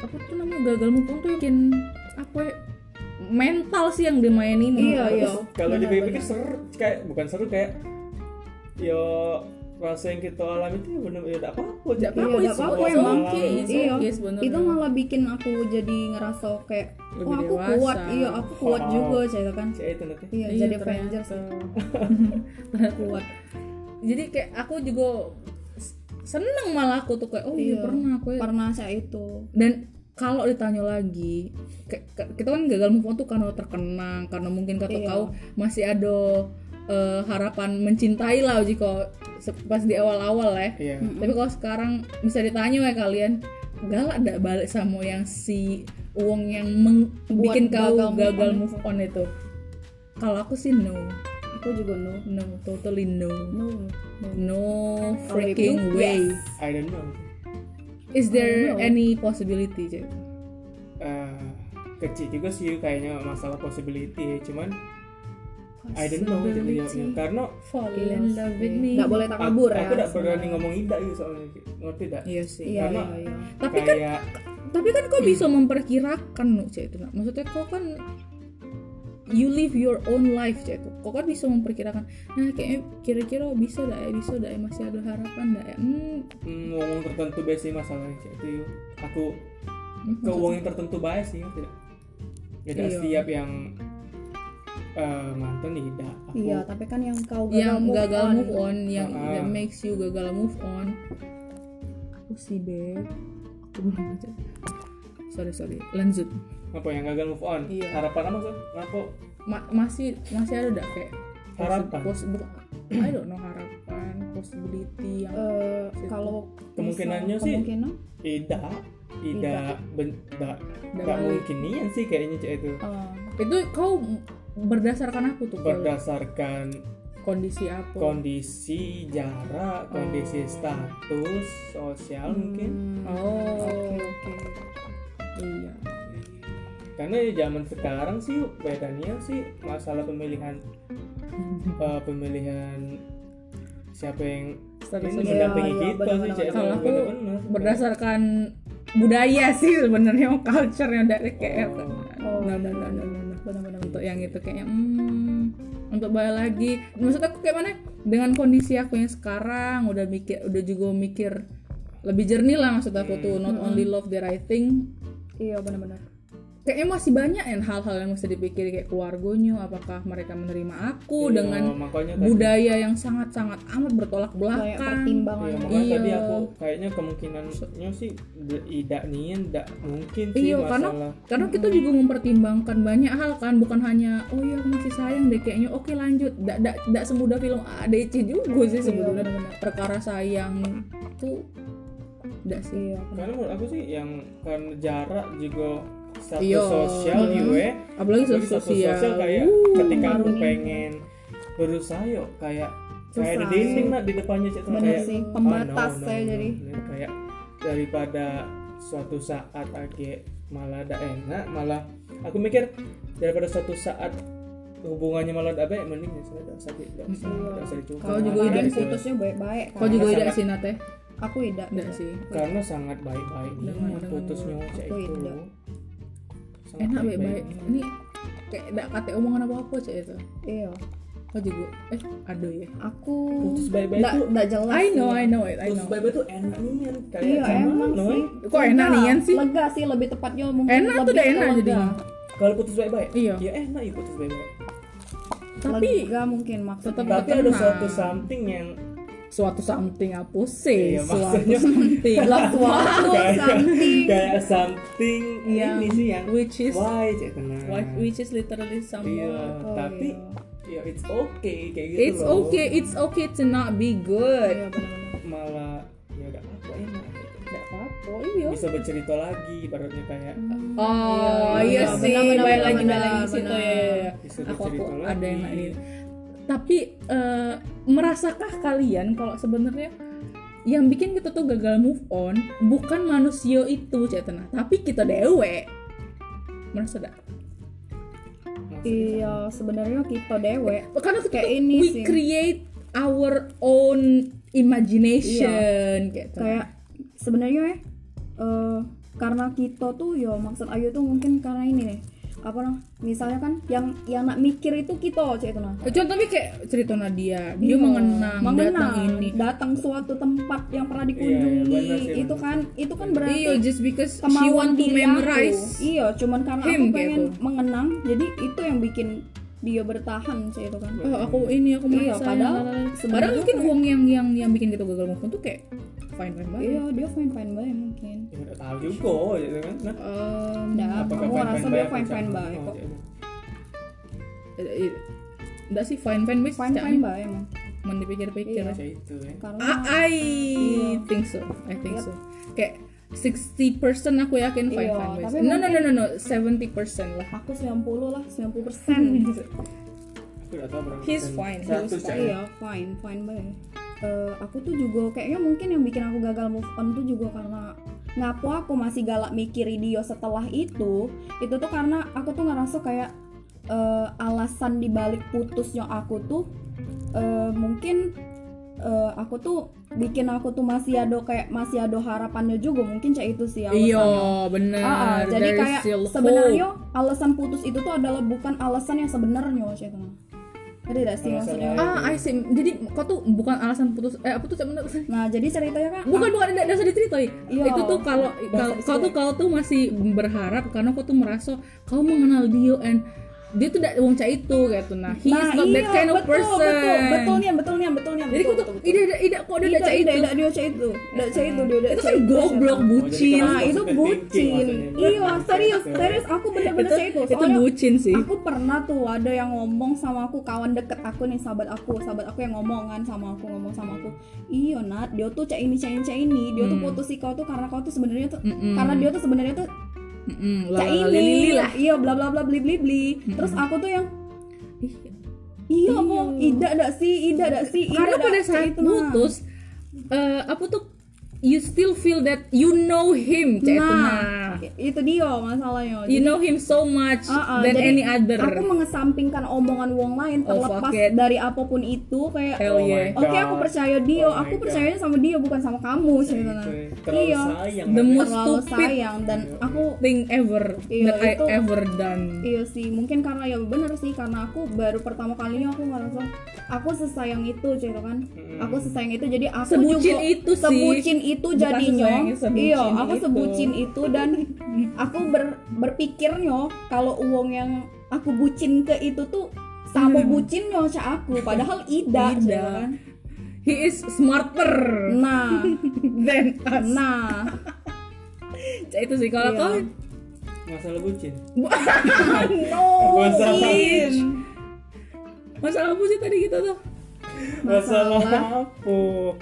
[SPEAKER 1] aku tuh namanya gagal move on tuh bikin apa ya, mental sih yang dimainin
[SPEAKER 3] Iya, iya.
[SPEAKER 2] Terus kalau
[SPEAKER 3] Benar,
[SPEAKER 2] dipikir-pikir seru kayak bukan seru kayak yo rasa yang kita alami itu bener ya tidak apa-apa
[SPEAKER 1] Nggak
[SPEAKER 2] Cak.
[SPEAKER 1] apa-apa,
[SPEAKER 3] Iya,
[SPEAKER 1] it's
[SPEAKER 3] nggak apa-apa,
[SPEAKER 1] okay, it's
[SPEAKER 3] emang.
[SPEAKER 1] okay, it's
[SPEAKER 3] Iya.
[SPEAKER 1] okay sebenarnya.
[SPEAKER 3] itu malah bikin aku jadi ngerasa kayak
[SPEAKER 1] Lebih
[SPEAKER 3] wah aku
[SPEAKER 1] dewasa.
[SPEAKER 3] kuat iya aku kuat
[SPEAKER 2] Oh.
[SPEAKER 3] juga Cak, kan
[SPEAKER 2] Cak, itu nanti
[SPEAKER 1] Iya,
[SPEAKER 3] iya, jadi
[SPEAKER 1] ternyata.
[SPEAKER 3] Avenger
[SPEAKER 1] *laughs* Ternyata kuat jadi kayak aku juga s- seneng malah aku tuh kayak oh iya,
[SPEAKER 3] Iya.
[SPEAKER 1] pernah aku ya.
[SPEAKER 3] pernah saya itu
[SPEAKER 1] dan kalau ditanya lagi kayak- kayak- kita kan gagal move on tuh karena terkenang karena mungkin kata
[SPEAKER 3] Iya.
[SPEAKER 1] kau masih ada eh, harapan mencintai lah jika se- pas di awal-awal lah ya
[SPEAKER 2] iya
[SPEAKER 3] Hmm.
[SPEAKER 1] tapi kalau sekarang bisa ditanya ya kalian galak gak balik sama yang si uang yang meng-
[SPEAKER 3] Buat
[SPEAKER 1] bikin kau
[SPEAKER 3] gagal move
[SPEAKER 1] gagal
[SPEAKER 3] on.
[SPEAKER 1] move on itu kalau aku sih no
[SPEAKER 3] aku juga no
[SPEAKER 1] no totally no
[SPEAKER 3] no no
[SPEAKER 1] no
[SPEAKER 3] Kalau
[SPEAKER 1] freaking
[SPEAKER 3] itu,
[SPEAKER 1] way
[SPEAKER 3] yes.
[SPEAKER 2] I don't know
[SPEAKER 1] is there
[SPEAKER 3] No.
[SPEAKER 1] any possibility Cek?
[SPEAKER 2] Eh, kecil juga sih kayaknya masalah possibility ya. cuman I don't know ya. jadi jawabnya. karena
[SPEAKER 1] fall
[SPEAKER 3] Iya
[SPEAKER 1] in love with
[SPEAKER 3] sih.
[SPEAKER 1] me
[SPEAKER 3] Nggak boleh takabur ya.
[SPEAKER 2] aku tidak berani ngomong tidak gitu soalnya Cak. ngerti tidak
[SPEAKER 1] iya sih
[SPEAKER 3] Iya,
[SPEAKER 2] karena
[SPEAKER 3] iya, iya.
[SPEAKER 1] Tapi kan-
[SPEAKER 2] kayak
[SPEAKER 1] tapi kan kau bisa memperkirakan no Cek, itu Nak. maksudnya kau kan you live your own life Cek, itu kau kan bisa memperkirakan nah kayaknya kira-kira bisa dah ya bisa dah ya masih ada harapan dah ya hmm,
[SPEAKER 2] mm, ngomong tertentu baik sih masalahnya Cak. itu yuk. aku ke uang yang tertentu baik sih ngerti tidak ya tidak
[SPEAKER 1] Iya.
[SPEAKER 2] setiap yang eh, mantan ya tidak aku
[SPEAKER 3] iya tapi kan yang kau gagal
[SPEAKER 1] yang
[SPEAKER 3] move
[SPEAKER 1] gagal
[SPEAKER 3] on.
[SPEAKER 1] move on, yang
[SPEAKER 2] Ah.
[SPEAKER 1] that makes you gagal move on aku sih beb aku belum baca sorry sorry lanjut
[SPEAKER 2] apa yang gagal move on
[SPEAKER 1] Iya.
[SPEAKER 2] harapan apa sih apa
[SPEAKER 1] Ma- masih masih ada dak kayak
[SPEAKER 2] Harapan.
[SPEAKER 1] pos- pos- bu- I don't know harapan possibility yang
[SPEAKER 3] Eh, kalau
[SPEAKER 2] Kemungkinannya
[SPEAKER 3] bisa-
[SPEAKER 2] sih-
[SPEAKER 3] kemungkinan
[SPEAKER 2] Ida Ida ben, da,
[SPEAKER 1] udah
[SPEAKER 2] gak
[SPEAKER 1] balik.
[SPEAKER 2] mungkin ian sih kayaknya Cek, itu
[SPEAKER 1] Ah.
[SPEAKER 3] eh,
[SPEAKER 1] itu kau berdasarkan aku tuh Kel.
[SPEAKER 2] berdasarkan
[SPEAKER 1] kondisi apa
[SPEAKER 2] kondisi jarak kondisi status sosial mungkin
[SPEAKER 3] hmm,
[SPEAKER 1] oh
[SPEAKER 3] oke oke
[SPEAKER 1] iya
[SPEAKER 2] karena ya zaman sekarang sih bedanya sih masalah pemilihan eh, pemilihan siapa yang
[SPEAKER 1] Status
[SPEAKER 2] ini
[SPEAKER 1] sosial.
[SPEAKER 2] mendampingi
[SPEAKER 3] Iya, iya,
[SPEAKER 2] kita sih
[SPEAKER 3] benar-benar,
[SPEAKER 2] Cek.
[SPEAKER 1] Kalau aku
[SPEAKER 2] Benar-benar.
[SPEAKER 1] berdasarkan budaya sih sebenarnya culture yang dari kayak
[SPEAKER 2] Oh.
[SPEAKER 3] Oh,
[SPEAKER 1] Nah, nah, nah, nah, nah, nah. untuk yang itu kayaknya hmm, untuk balik lagi maksud aku kayak mana dengan kondisi aku yang sekarang udah mikir udah juga mikir lebih jernih lah maksud aku tuh not only love the right thing
[SPEAKER 3] iya benar-benar
[SPEAKER 1] kayaknya masih banyak yang hal-hal yang mesti dipikir kayak keluarganya apakah mereka menerima aku
[SPEAKER 2] Iya,
[SPEAKER 1] dengan
[SPEAKER 2] makanya tadi-
[SPEAKER 1] budaya yang sangat-sangat amat bertolak
[SPEAKER 3] kayak
[SPEAKER 1] belakang
[SPEAKER 3] pertimbangan
[SPEAKER 2] Iya, makanya
[SPEAKER 1] Iya.
[SPEAKER 2] tadi aku kayaknya kemungkinannya sih de- tidak nian, tidak mungkin sih
[SPEAKER 1] Iya, karena-
[SPEAKER 2] masalah.
[SPEAKER 1] karena kita
[SPEAKER 2] Hmm.
[SPEAKER 1] juga mempertimbangkan banyak hal kan bukan hanya oh ya aku masih sayang deh kayaknya oke lanjut tidak tidak semudah film ADC juga sih
[SPEAKER 2] Iya,
[SPEAKER 1] sebenarnya perkara sayang tuh tidak sih
[SPEAKER 3] iya
[SPEAKER 2] Karena, menurut aku sih yang kan jarak juga status
[SPEAKER 1] Iya.
[SPEAKER 2] sosial
[SPEAKER 1] Iya.
[SPEAKER 2] juga ya.
[SPEAKER 1] apalagi
[SPEAKER 2] Tapi
[SPEAKER 1] status
[SPEAKER 2] status
[SPEAKER 1] sosial, Uh.
[SPEAKER 2] kayak
[SPEAKER 1] Wuh,
[SPEAKER 2] ketika aku
[SPEAKER 3] mempengaruhi.
[SPEAKER 2] pengen berusaha yuk kayak kayak ada
[SPEAKER 3] Susah.
[SPEAKER 2] dinding lah di depannya cek
[SPEAKER 3] benar
[SPEAKER 2] kayak
[SPEAKER 3] sih
[SPEAKER 2] "Oh,
[SPEAKER 3] pembatas
[SPEAKER 2] no, no,
[SPEAKER 3] saya
[SPEAKER 2] no,
[SPEAKER 3] jadi
[SPEAKER 2] no." kayak daripada suatu saat aku malah ada enak malah aku mikir daripada suatu saat hubungannya malah ada baik mending ya sudah tidak usah di- tidak usah
[SPEAKER 3] Mm-mm.
[SPEAKER 2] tidak usah dicoba.
[SPEAKER 1] Kalau juga
[SPEAKER 2] Karena
[SPEAKER 1] tidak
[SPEAKER 3] kemarin
[SPEAKER 2] itu-
[SPEAKER 3] putusnya baik-baik kan
[SPEAKER 1] kau juga
[SPEAKER 2] Karena
[SPEAKER 1] tidak sih nate
[SPEAKER 3] aku tidak
[SPEAKER 1] tidak
[SPEAKER 2] Iya.
[SPEAKER 1] sih
[SPEAKER 2] karena sangat baik-baik nih
[SPEAKER 1] Dengan- dengan-
[SPEAKER 2] putusnya cek
[SPEAKER 3] Aku
[SPEAKER 2] itu
[SPEAKER 3] tidak.
[SPEAKER 2] Sangat
[SPEAKER 1] enak baik-baik
[SPEAKER 2] banget.
[SPEAKER 3] Mm,
[SPEAKER 1] ini kayak tidak kata omongan apa apa cek itu
[SPEAKER 3] iya
[SPEAKER 1] kau juga eh aduh ya
[SPEAKER 3] aku
[SPEAKER 2] putus baik-baik
[SPEAKER 3] tidak
[SPEAKER 2] tuh
[SPEAKER 3] tidak jelas
[SPEAKER 1] I know
[SPEAKER 3] sih.
[SPEAKER 1] I know it I
[SPEAKER 2] ya. Terus
[SPEAKER 1] know
[SPEAKER 2] babe tuh enak nih kan kayak
[SPEAKER 3] iya
[SPEAKER 2] zaman
[SPEAKER 3] emang
[SPEAKER 2] loh,
[SPEAKER 3] sih
[SPEAKER 2] eh.
[SPEAKER 1] Kok enak
[SPEAKER 3] Lega,
[SPEAKER 1] nian sih?
[SPEAKER 3] lega sih lebih tepatnya mungkin
[SPEAKER 1] Enak tuh
[SPEAKER 3] lebih
[SPEAKER 1] udah
[SPEAKER 3] ke
[SPEAKER 1] enak
[SPEAKER 3] lega.
[SPEAKER 1] jadinya.
[SPEAKER 2] Kalau putus baik-baik,
[SPEAKER 1] Iya.
[SPEAKER 2] ya enak ya putus baik-baik.
[SPEAKER 1] tapi
[SPEAKER 3] lega mungkin maksudnya Iya,
[SPEAKER 1] tetap-
[SPEAKER 2] Tapi ada
[SPEAKER 1] Tenang.
[SPEAKER 2] suatu something yang
[SPEAKER 1] suatu something apa sih
[SPEAKER 2] Iya,
[SPEAKER 1] suatu
[SPEAKER 2] maksudnya-
[SPEAKER 1] something
[SPEAKER 3] lah suatu
[SPEAKER 2] Kayak-
[SPEAKER 3] something
[SPEAKER 2] kayak something
[SPEAKER 3] Iya.
[SPEAKER 1] Yang-
[SPEAKER 2] ini sih yang
[SPEAKER 1] which is
[SPEAKER 2] why cek tenang.
[SPEAKER 1] Like, which is literally
[SPEAKER 2] Iya,
[SPEAKER 1] someone
[SPEAKER 3] Oh,
[SPEAKER 2] tapi ya it's okay kayak gitu
[SPEAKER 1] It's
[SPEAKER 2] loh.
[SPEAKER 1] okay, it's okay to not be
[SPEAKER 3] iya
[SPEAKER 1] good.
[SPEAKER 3] benar-benar
[SPEAKER 2] Malah ya udah apa enak. gitu.
[SPEAKER 1] Gak apa-apa, iya.
[SPEAKER 2] Bisa bercerita lagi ibaratnya kayak
[SPEAKER 3] Hmm.
[SPEAKER 2] "Ah,
[SPEAKER 1] Oh iya,
[SPEAKER 3] Iya, iya,
[SPEAKER 1] sih,
[SPEAKER 3] benar,
[SPEAKER 1] balik
[SPEAKER 3] benar,
[SPEAKER 1] lagi
[SPEAKER 3] benar,
[SPEAKER 1] balik lagi ke situ
[SPEAKER 3] benar.
[SPEAKER 1] ya. ya, ya.
[SPEAKER 2] Bisa
[SPEAKER 1] Aku aku
[SPEAKER 2] bercerita lagi.
[SPEAKER 1] ada yang lain. Tapi eh, merasakah kalian kalau sebenarnya yang bikin kita tuh gagal move on bukan manusia itu cetena, tapi kita dewe. Merasa dak?
[SPEAKER 2] maksudnya
[SPEAKER 3] iya sebenarnya kita dewe
[SPEAKER 1] Karena kita
[SPEAKER 3] Kayak
[SPEAKER 1] tuh,
[SPEAKER 3] ini
[SPEAKER 1] we
[SPEAKER 3] sih.
[SPEAKER 1] create our own imagination
[SPEAKER 3] Iya,
[SPEAKER 1] gitu.
[SPEAKER 3] kayak sebenarnya ya eh, karena kita tuh ya maksud Ayu tuh mungkin karena ini nih apa nah, misalnya kan yang yang nak mikir itu kita cek itu nah
[SPEAKER 1] Contohnya kayak cerita Nadia, dia
[SPEAKER 3] Iya,
[SPEAKER 1] mengenang,
[SPEAKER 3] mengenang
[SPEAKER 1] datang ini.
[SPEAKER 3] datang suatu tempat yang pernah dikunjungi
[SPEAKER 2] Iya, iya, benar sih,
[SPEAKER 3] itu
[SPEAKER 2] benar.
[SPEAKER 3] kan itu kan berarti
[SPEAKER 1] Iya, just because she
[SPEAKER 3] kemauan
[SPEAKER 1] want to
[SPEAKER 3] diri
[SPEAKER 1] memorize.
[SPEAKER 3] aku. iya cuman karena
[SPEAKER 1] him
[SPEAKER 3] aku pengen
[SPEAKER 1] gitu.
[SPEAKER 3] mengenang jadi itu yang bikin dia bertahan sih itu kan
[SPEAKER 1] Oh, aku ini aku
[SPEAKER 3] Iya,
[SPEAKER 1] merasa.
[SPEAKER 3] padahal
[SPEAKER 1] padahal,
[SPEAKER 3] sebenarnya
[SPEAKER 1] mungkin
[SPEAKER 3] kayak-
[SPEAKER 1] uang yang yang yang bikin kita gagal move on tuh kayak fine fine banget.
[SPEAKER 3] iya dia fine fine baik mungkin
[SPEAKER 2] ya nggak tahu juga gitu kan. Nah,
[SPEAKER 3] Nggak,
[SPEAKER 2] apakah
[SPEAKER 3] Ah, aku ngerasa dia
[SPEAKER 2] baik-baik
[SPEAKER 3] fine fine
[SPEAKER 2] aja?
[SPEAKER 3] baik
[SPEAKER 2] Oh,
[SPEAKER 3] kok
[SPEAKER 2] cek itu.
[SPEAKER 1] Eh, Enggak sih fine fine banget.
[SPEAKER 3] fine fine baik emang
[SPEAKER 1] Cuman dipikir-pikir.
[SPEAKER 3] Iya.
[SPEAKER 2] Cek itu ya.
[SPEAKER 3] karena
[SPEAKER 1] Ah, Iya, I think so. I think so. Kayak 60% aku yakin fine
[SPEAKER 3] Iya,
[SPEAKER 1] fine
[SPEAKER 3] tapi
[SPEAKER 1] banget. No no no no no, 70% lah.
[SPEAKER 3] aku 90 lah 90 persen
[SPEAKER 1] Hmm.
[SPEAKER 2] Aku nggak tahu berapa
[SPEAKER 1] He's
[SPEAKER 2] persen.
[SPEAKER 1] fine, he was
[SPEAKER 2] Seratus, cek.
[SPEAKER 3] iya fine fine baik Eh, aku tuh juga kayaknya mungkin yang bikin aku gagal move on tuh juga karena ngapo aku masih galak mikir dia setelah itu itu tuh karena aku tuh ngerasa kayak eh, alasan dibalik putusnya aku tuh eh, mungkin eh, aku tuh bikin aku tuh masih ada kayak masih ada harapannya juga mungkin cek itu sih alasannya.
[SPEAKER 1] Iya, benar.
[SPEAKER 3] Ah, ah, jadi
[SPEAKER 1] There's
[SPEAKER 3] kayak
[SPEAKER 1] still hope.
[SPEAKER 3] sebenarnya alasan putus itu tuh adalah bukan alasan yang sebenarnya Cek. Ngerti gak sih
[SPEAKER 2] Alasan
[SPEAKER 3] maksudnya?
[SPEAKER 2] lain.
[SPEAKER 1] Ah, I see. Jadi kau tuh bukan alasan putus eh apa tuh sebenarnya
[SPEAKER 3] Nah, jadi ceritanya kan
[SPEAKER 1] bukan bukan tidak usah diceritain
[SPEAKER 3] Iya.
[SPEAKER 1] itu tuh kalau
[SPEAKER 3] Bahasa
[SPEAKER 1] kau- kau tuh kau tuh masih berharap karena kau tuh merasa kau mengenal Dio and dia tuh tidak wong cah itu gitu nah he is not that kind of
[SPEAKER 3] iya, betul,
[SPEAKER 1] person
[SPEAKER 3] betul, Iya, betul nih, betul nih, betul nih.
[SPEAKER 4] benar
[SPEAKER 1] Jadi aku
[SPEAKER 4] betul,
[SPEAKER 1] tuh
[SPEAKER 4] betul, betul.
[SPEAKER 1] ide ide ide kok ada Ica
[SPEAKER 3] Ida, Ida,
[SPEAKER 1] itu.
[SPEAKER 3] Ida, Dio Ca itu. Ida, Ca itu, Dio, Dio,
[SPEAKER 1] Itu
[SPEAKER 3] Ca
[SPEAKER 1] kan goblok bucin.
[SPEAKER 2] Nah,
[SPEAKER 3] Nah, itu
[SPEAKER 2] Positive thinking
[SPEAKER 3] bucin.
[SPEAKER 2] maksudnya.
[SPEAKER 3] Iya, serius, serius. Aku bener-bener
[SPEAKER 1] Itu
[SPEAKER 3] Ca itu.
[SPEAKER 1] itu
[SPEAKER 3] Soalnya
[SPEAKER 1] bucin sih.
[SPEAKER 3] aku pernah tuh ada yang ngomong sama aku kawan deket aku nih sahabat aku sahabat aku yang ngomong kan sama aku ngomong sama aku iyo nat dia tuh cak ini cak ini cak ini dia tuh
[SPEAKER 1] Hmm.
[SPEAKER 3] putus si kau tuh karena kau tuh sebenarnya tuh
[SPEAKER 1] Mm-mm.
[SPEAKER 3] karena dia tuh sebenarnya tuh
[SPEAKER 1] Mm-mm,
[SPEAKER 3] cak
[SPEAKER 1] lalala lili
[SPEAKER 3] ini
[SPEAKER 1] lah.
[SPEAKER 3] iya bla bla bla bli bli bli
[SPEAKER 1] Mm-mm.
[SPEAKER 3] terus aku tuh yang
[SPEAKER 1] Ih,
[SPEAKER 3] iya
[SPEAKER 1] Iya.
[SPEAKER 3] mau ida dak si ida dak si ida
[SPEAKER 1] Karena
[SPEAKER 3] dak
[SPEAKER 1] pada
[SPEAKER 3] si,"
[SPEAKER 1] saat
[SPEAKER 3] nah.
[SPEAKER 1] putus, eh, aku tuh you still feel that you know him, Ca itu
[SPEAKER 3] Nah,
[SPEAKER 1] mah.
[SPEAKER 3] itu dia masalahnya
[SPEAKER 1] You know him so much
[SPEAKER 3] Uh-uh,
[SPEAKER 1] than
[SPEAKER 3] jadi
[SPEAKER 1] any other.
[SPEAKER 3] aku mengesampingkan omongan wong lain
[SPEAKER 1] Oh,
[SPEAKER 3] terlepas
[SPEAKER 1] fuck it.
[SPEAKER 3] dari apapun itu kayak
[SPEAKER 1] Hell yeah.
[SPEAKER 3] Oh, iya. Oke aku percaya dia,
[SPEAKER 2] Oh my
[SPEAKER 3] aku
[SPEAKER 2] God.
[SPEAKER 3] percayanya sama dia bukan sama kamu sih
[SPEAKER 2] Iya, gitu, ya. Terlalu
[SPEAKER 3] Iya.
[SPEAKER 2] sayang. Iya.
[SPEAKER 1] The most
[SPEAKER 3] Terlalu
[SPEAKER 1] stupid
[SPEAKER 3] sayang dan aku
[SPEAKER 1] thing ever
[SPEAKER 3] Iya,
[SPEAKER 1] that I
[SPEAKER 3] itu-
[SPEAKER 1] ever done.
[SPEAKER 3] iya sih mungkin karena ya bener sih karena aku baru pertama kalinya aku ngerasa aku sesayang itu gitu kan.
[SPEAKER 2] Mm.
[SPEAKER 3] Aku sesayang itu jadi aku
[SPEAKER 1] Sebucin
[SPEAKER 3] juga
[SPEAKER 1] itu sih.
[SPEAKER 3] sebucin itu
[SPEAKER 1] Bukan
[SPEAKER 3] jadinya.
[SPEAKER 1] sesayang, sebucin
[SPEAKER 3] Iya, aku
[SPEAKER 1] itu.
[SPEAKER 3] sebucin itu dan aku ber, berpikirnya kalau uang yang aku bucin ke itu tuh sama
[SPEAKER 1] Hmm.
[SPEAKER 3] bucinnya cak aku
[SPEAKER 1] *laughs*
[SPEAKER 3] padahal
[SPEAKER 1] Ida.
[SPEAKER 3] ida, gitu kan.
[SPEAKER 1] He is
[SPEAKER 3] *laughs*
[SPEAKER 1] smarter
[SPEAKER 3] Nah,
[SPEAKER 1] than us.
[SPEAKER 3] nah.
[SPEAKER 1] Ca, itu sih kalau
[SPEAKER 3] Iya. *laughs*
[SPEAKER 1] kau
[SPEAKER 2] Masalah bucin.
[SPEAKER 3] no
[SPEAKER 2] Masalah
[SPEAKER 3] iya.
[SPEAKER 1] Bucin. Masalah apa sih tadi gitu tuh?
[SPEAKER 2] Masalah
[SPEAKER 3] Masalah.
[SPEAKER 2] apa?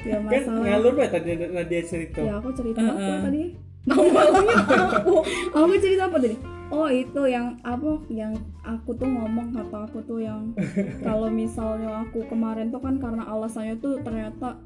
[SPEAKER 3] Ya,
[SPEAKER 2] Kan
[SPEAKER 3] masalah.
[SPEAKER 2] ngalur banget tadi Nadia cerita.
[SPEAKER 3] ya aku cerita apa
[SPEAKER 1] Uh-uh.
[SPEAKER 3] tadi
[SPEAKER 1] Awalnya
[SPEAKER 3] ya, aku aku cerita apa tadi oh itu yang apa yang aku tuh ngomong kata aku tuh
[SPEAKER 1] *laughs*
[SPEAKER 3] yang kalau misalnya aku kemarin tuh kan karena alasannya tuh ternyata